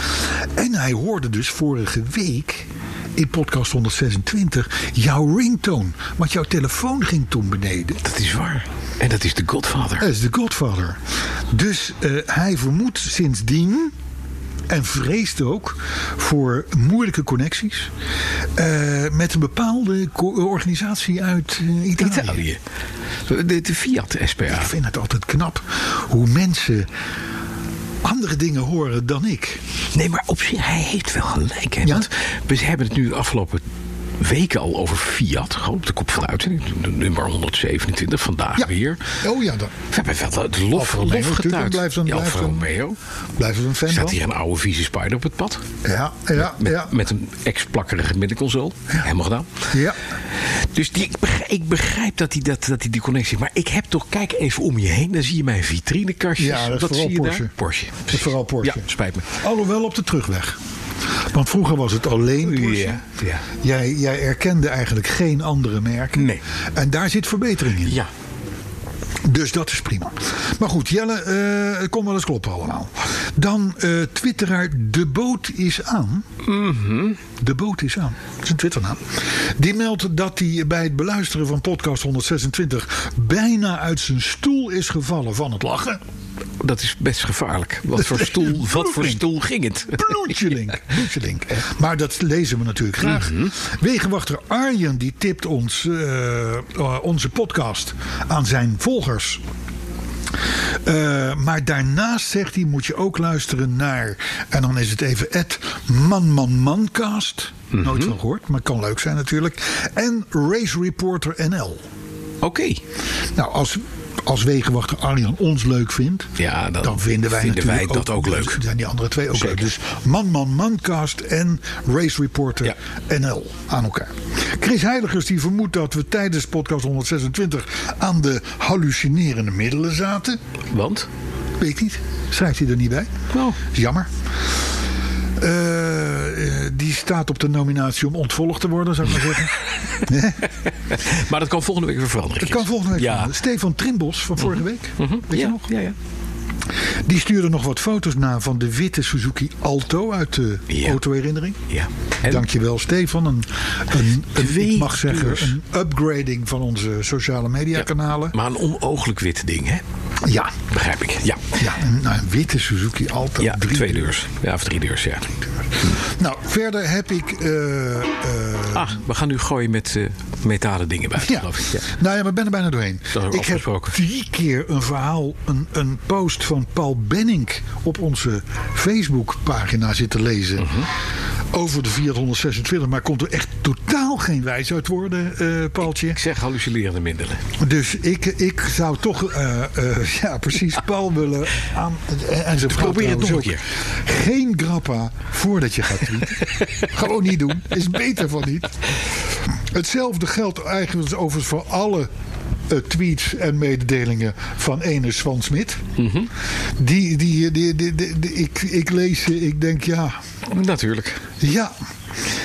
[SPEAKER 3] En hij hoorde dus vorige week in podcast 126 jouw ringtone. Want jouw telefoon ging toen beneden.
[SPEAKER 2] Dat is waar. En dat is de Godfather.
[SPEAKER 3] Hij is de Godfather. Dus eh, hij vermoedt sindsdien. En vreest ook voor moeilijke connecties. eh, met een bepaalde co- organisatie uit eh, Italië.
[SPEAKER 2] Italië. De, de Fiat SPA.
[SPEAKER 3] Ik vind het altijd knap hoe mensen andere dingen horen dan ik.
[SPEAKER 2] Nee, maar op zich, hij heeft wel gelijk. Hè?
[SPEAKER 3] Ja?
[SPEAKER 2] Want we hebben het nu de afgelopen weken al over Fiat. Gewoon op de kop van de uitzending. Nummer 127 vandaag
[SPEAKER 3] Ja.
[SPEAKER 2] weer.
[SPEAKER 3] Oh ja, dan
[SPEAKER 2] We hebben wel het lof,
[SPEAKER 3] Alfa Romeo
[SPEAKER 2] lof
[SPEAKER 3] natuurlijk,
[SPEAKER 2] getuid.
[SPEAKER 3] blijft een-
[SPEAKER 2] Ja, Alfa
[SPEAKER 3] blijft een-
[SPEAKER 2] Romeo.
[SPEAKER 3] blijven we een fan
[SPEAKER 2] Staat
[SPEAKER 3] van.
[SPEAKER 2] hier een oude vieze spider op het pad.
[SPEAKER 3] Ja, ja,
[SPEAKER 2] Met,
[SPEAKER 3] ja.
[SPEAKER 2] met een ex-plakkerige middenconsole. Helemaal gedaan.
[SPEAKER 3] ja.
[SPEAKER 2] Dus die, ik, begrijp, ik begrijp dat hij dat, dat die, die connectie heeft. Maar ik heb toch, kijk even om je heen. Dan zie je mijn vitrinekastjes.
[SPEAKER 3] Ja, dat is
[SPEAKER 2] Wat
[SPEAKER 3] vooral
[SPEAKER 2] zie je
[SPEAKER 3] Porsche.
[SPEAKER 2] Daar? Porsche.
[SPEAKER 3] Dat is vooral Porsche.
[SPEAKER 2] Ja, spijt me.
[SPEAKER 3] Alhoewel op de terugweg. Want vroeger was het alleen Porsche.
[SPEAKER 2] Ja, ja.
[SPEAKER 3] Jij, jij erkende eigenlijk geen andere merken.
[SPEAKER 2] Nee.
[SPEAKER 3] En daar zit verbetering in.
[SPEAKER 2] Ja,
[SPEAKER 3] Dus dat is prima. Maar goed, Jelle, eh, het kon wel eens kloppen allemaal. Dan eh twitteraar De Boot is aan.
[SPEAKER 2] Mhm.
[SPEAKER 3] De Boot is aan. Dat is een twitternaam. Die meldt dat hij bij het beluisteren van podcast 126... bijna uit zijn stoel is gevallen van het lachen.
[SPEAKER 2] dat is best gevaarlijk. Wat voor stoel, wat voor stoel ging het?
[SPEAKER 3] Bloedjelink. Bloedjelink. Maar dat lezen we natuurlijk graag. Wegenwachter Arjen die tipt ons eh, eh, onze podcast aan zijn volgers. Eh, maar daarnaast zegt hij, moet je ook luisteren naar... en dan is het even het Man Man Mancast. Nooit van gehoord, maar kan leuk zijn natuurlijk. En Race Reporter NL.
[SPEAKER 2] Oké.
[SPEAKER 3] Nou, als, als Wegenwachter Arjan ons leuk vindt...
[SPEAKER 2] Ja, dan
[SPEAKER 3] vinden wij,
[SPEAKER 2] vinden wij
[SPEAKER 3] natuurlijk
[SPEAKER 2] dat ook leuk.
[SPEAKER 3] dus zijn die andere twee ook
[SPEAKER 2] Zeker.
[SPEAKER 3] leuk. Dus Man Man Mancast en Race Reporter
[SPEAKER 2] Ja.
[SPEAKER 3] NL aan elkaar. Chris Heiligers die vermoedt dat we tijdens podcast 126... aan de hallucinerende middelen zaten.
[SPEAKER 2] Want?
[SPEAKER 3] Weet niet. Schrijft hij er niet bij.
[SPEAKER 2] Nou.
[SPEAKER 3] Is jammer. Eh, eh, die staat op de nominatie om ontvolgd te worden, zou ik maar zeggen.
[SPEAKER 2] Maar dat kan volgende week weer veranderen.
[SPEAKER 3] Dat
[SPEAKER 2] Chris.
[SPEAKER 3] kan volgende week.
[SPEAKER 2] Ja. Mhm.
[SPEAKER 3] veranderen. Stefan Trimbos van vorige week. Weet
[SPEAKER 2] ja,
[SPEAKER 3] je nog?
[SPEAKER 2] Ja, ja.
[SPEAKER 3] Die stuurde nog wat foto's na van de witte Suzuki Alto uit de
[SPEAKER 2] Ja.
[SPEAKER 3] autoherinnering.
[SPEAKER 2] ja. En
[SPEAKER 3] Dankjewel Stefan. Een, een, een-
[SPEAKER 2] Twee
[SPEAKER 3] ik mag
[SPEAKER 2] uur.
[SPEAKER 3] zeggen, een upgrading van onze sociale media kanalen.
[SPEAKER 2] Maar een onooglijk wit ding, hè?
[SPEAKER 3] Ja,
[SPEAKER 2] Begrijp ik. Ja.
[SPEAKER 3] ja een, nou, een witte Suzuki Alto.
[SPEAKER 2] Ja,
[SPEAKER 3] drie
[SPEAKER 2] twee
[SPEAKER 3] deur.
[SPEAKER 2] deurs. Ja, of drie deurs, ja.
[SPEAKER 3] Nou, verder heb ik... eh, eh,
[SPEAKER 2] Ah, we gaan nu gooien met eh, metalen dingen bij,
[SPEAKER 3] Ja.
[SPEAKER 2] geloof ik. Ja.
[SPEAKER 3] nou ja, maar ik ben er bijna doorheen.
[SPEAKER 2] Dat hebben we
[SPEAKER 3] Ik heb
[SPEAKER 2] afgesproken.
[SPEAKER 3] drie keer een verhaal, een, een post van Paul Benning op onze Facebookpagina zitten lezen.
[SPEAKER 2] Mhm.
[SPEAKER 3] Over de 426, maar komt er echt totaal geen wijs uit worden, eh Paultje.
[SPEAKER 2] Ik zeg hallucinerende middelen.
[SPEAKER 3] Dus ik, ik zou toch, eh, eh, ja precies, Paul willen aan, en- en zijn vrouw
[SPEAKER 2] Probeer Ah. het
[SPEAKER 3] trouwens
[SPEAKER 2] nog een
[SPEAKER 3] ook. Geen grappa voordat je gaat tweeten. Gewoon niet doen, is beter van niet. Hetzelfde geldt eigenlijk overigens voor alle eh, tweets en mededelingen van ene Swan Smit.
[SPEAKER 2] Mhm.
[SPEAKER 3] die, die, die, die, die- die- ik, ik lees ze, ik denk ja,
[SPEAKER 2] Natuurlijk.
[SPEAKER 3] ja,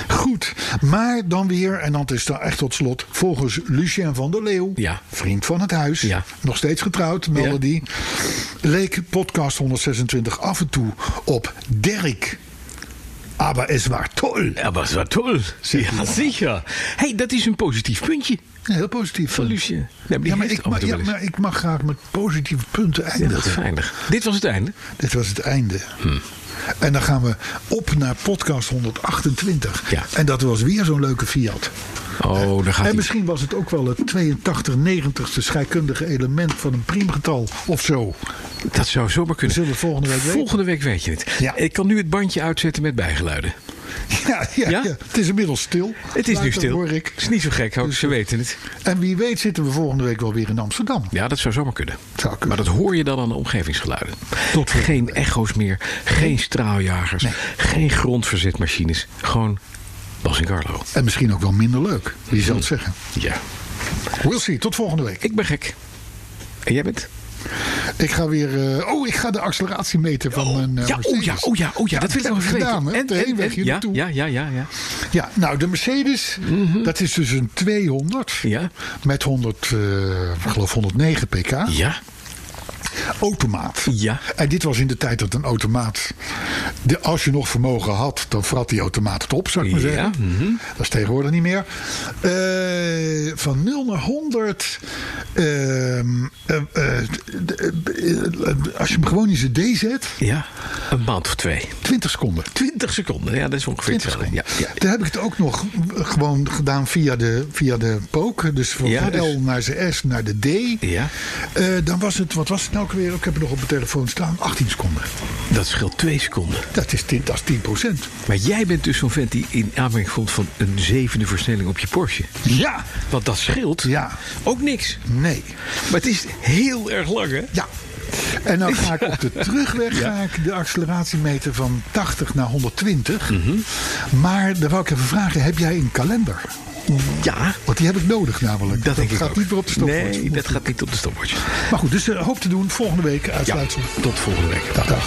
[SPEAKER 3] goed. Maar dan weer, en dan is dat echt tot slot, volgens Lucien van der Leeuw,
[SPEAKER 2] Ja.
[SPEAKER 3] vriend van het huis,
[SPEAKER 2] Ja.
[SPEAKER 3] nog steeds getrouwd, meldde
[SPEAKER 2] Ja.
[SPEAKER 3] die, leek podcast 126 af en toe op Dirk. Aber es war toll.
[SPEAKER 2] Ja, was wat toll.
[SPEAKER 3] Zeker.
[SPEAKER 2] Ja, zeker. hey, dat is een positief puntje
[SPEAKER 3] Heel positief.
[SPEAKER 2] van Lucien. Nee, maar die
[SPEAKER 3] Ja, maar
[SPEAKER 2] heeft
[SPEAKER 3] ik,
[SPEAKER 2] af en
[SPEAKER 3] mag,
[SPEAKER 2] toe
[SPEAKER 3] ja,
[SPEAKER 2] wel eens.
[SPEAKER 3] maar ik mag graag met positieve punten
[SPEAKER 2] Ja, dat is Hm.
[SPEAKER 3] eindigen.
[SPEAKER 2] veilig. Dit was het einde.
[SPEAKER 3] Dit was het einde. En dan gaan we op naar podcast 128.
[SPEAKER 2] Ja.
[SPEAKER 3] En dat was weer zo'n leuke Fiat.
[SPEAKER 2] Oh, daar gaat
[SPEAKER 3] En
[SPEAKER 2] hij.
[SPEAKER 3] misschien was het ook wel het 82, 90ste scheikundige element van een priemgetal of zo.
[SPEAKER 2] Dat zou zomaar kunnen.
[SPEAKER 3] We zullen het volgende week weten.
[SPEAKER 2] Volgende week weet je het.
[SPEAKER 3] Ja.
[SPEAKER 2] Ik kan nu het bandje uitzetten met bijgeluiden.
[SPEAKER 3] Ja, ja,
[SPEAKER 2] Ja?
[SPEAKER 3] ja. het is inmiddels stil.
[SPEAKER 2] Het is nu
[SPEAKER 3] Later
[SPEAKER 2] stil.
[SPEAKER 3] Hoor
[SPEAKER 2] Het
[SPEAKER 3] ik. Dus
[SPEAKER 2] is niet zo gek, ook. ze weten het.
[SPEAKER 3] En wie weet zitten we volgende week wel weer in Amsterdam.
[SPEAKER 2] Ja, dat zou zomaar kunnen.
[SPEAKER 3] Zou kunnen.
[SPEAKER 2] Maar dat hoor je dan aan de omgevingsgeluiden.
[SPEAKER 3] Tot volgende
[SPEAKER 2] geen echo's meer, geen straaljagers,
[SPEAKER 3] Nee.
[SPEAKER 2] geen grondverzetmachines. Gewoon Bas en Carlo.
[SPEAKER 3] En misschien ook wel minder leuk. Wie zal het
[SPEAKER 2] Hmm.
[SPEAKER 3] zeggen?
[SPEAKER 2] Ja.
[SPEAKER 3] We'll see. Tot volgende week.
[SPEAKER 2] Ik ben gek. En jij bent?
[SPEAKER 3] Ik ga weer. eh, oh, ik ga de acceleratiemeter van mijn. eh,
[SPEAKER 2] ja, oh ja,
[SPEAKER 3] Mercedes.
[SPEAKER 2] oh ja, oh ja. Dat wil ik
[SPEAKER 3] heb
[SPEAKER 2] nog even
[SPEAKER 3] gedaan.
[SPEAKER 2] weten.
[SPEAKER 3] hè, op de heenweg hier
[SPEAKER 2] ja,
[SPEAKER 3] naartoe.
[SPEAKER 2] ja, ja, ja, ja.
[SPEAKER 3] Ja, nou, de Mercedes, dat is dus een 200
[SPEAKER 2] Ja.
[SPEAKER 3] met 100, eh, ik geloof 109 pk.
[SPEAKER 2] Ja,
[SPEAKER 3] automaat.
[SPEAKER 2] Ja.
[SPEAKER 3] En dit was in de tijd dat een automaat. De, als je nog vermogen had, dan vrat die automaat het op, zou ik maar
[SPEAKER 2] Ja, mhm.
[SPEAKER 3] zeggen. Dat is tegenwoordig niet meer. Eh, van 0 naar 100. ehm, eh, eh, d- eh, b- eh, als je hem gewoon in zijn D zet,
[SPEAKER 2] ja. Een maand of twee.
[SPEAKER 3] 20 seconden.
[SPEAKER 2] 20 seconden. Ja, dat is ongeveer
[SPEAKER 3] 20
[SPEAKER 2] hetzelfde.
[SPEAKER 3] seconden.
[SPEAKER 2] Ja, ja.
[SPEAKER 3] Daar heb ik het ook nog gewoon gedaan via de, via de pook. Dus van
[SPEAKER 2] Ja,
[SPEAKER 3] de
[SPEAKER 2] dus-
[SPEAKER 3] L naar de S naar de D.
[SPEAKER 2] Ja.
[SPEAKER 3] Eh, dan was het, wat was het nou ook weer? Ik heb het nog op mijn telefoon staan. 18 seconden.
[SPEAKER 2] Dat scheelt twee seconden.
[SPEAKER 3] Dat is, 10 dat is 10 procent.
[SPEAKER 2] Maar jij bent dus zo'n vent die in aanmerking komt van een zevende versnelling op je Porsche.
[SPEAKER 3] Ja.
[SPEAKER 2] Want dat scheelt
[SPEAKER 3] Ja.
[SPEAKER 2] ook niks.
[SPEAKER 3] Nee.
[SPEAKER 2] Maar het is heel erg lang, hè?
[SPEAKER 3] Ja. En dan ga ik op de terugweg ga ik de acceleratiemeter
[SPEAKER 2] Mhm.
[SPEAKER 3] van 80 naar 120. Maar dan wou ik even vragen, heb jij een kalender?
[SPEAKER 2] Ja,
[SPEAKER 3] Want die heb ik nodig namelijk.
[SPEAKER 2] dat denk ik
[SPEAKER 3] gaat
[SPEAKER 2] ook.
[SPEAKER 3] niet meer op de stopwatch.
[SPEAKER 2] Nee, dat gaat niet op de stopwatch.
[SPEAKER 3] Maar goed, dus eh, hoop te doen volgende week
[SPEAKER 2] Ja,
[SPEAKER 3] uitsluitsel.
[SPEAKER 2] tot volgende week.
[SPEAKER 3] Dag, dag.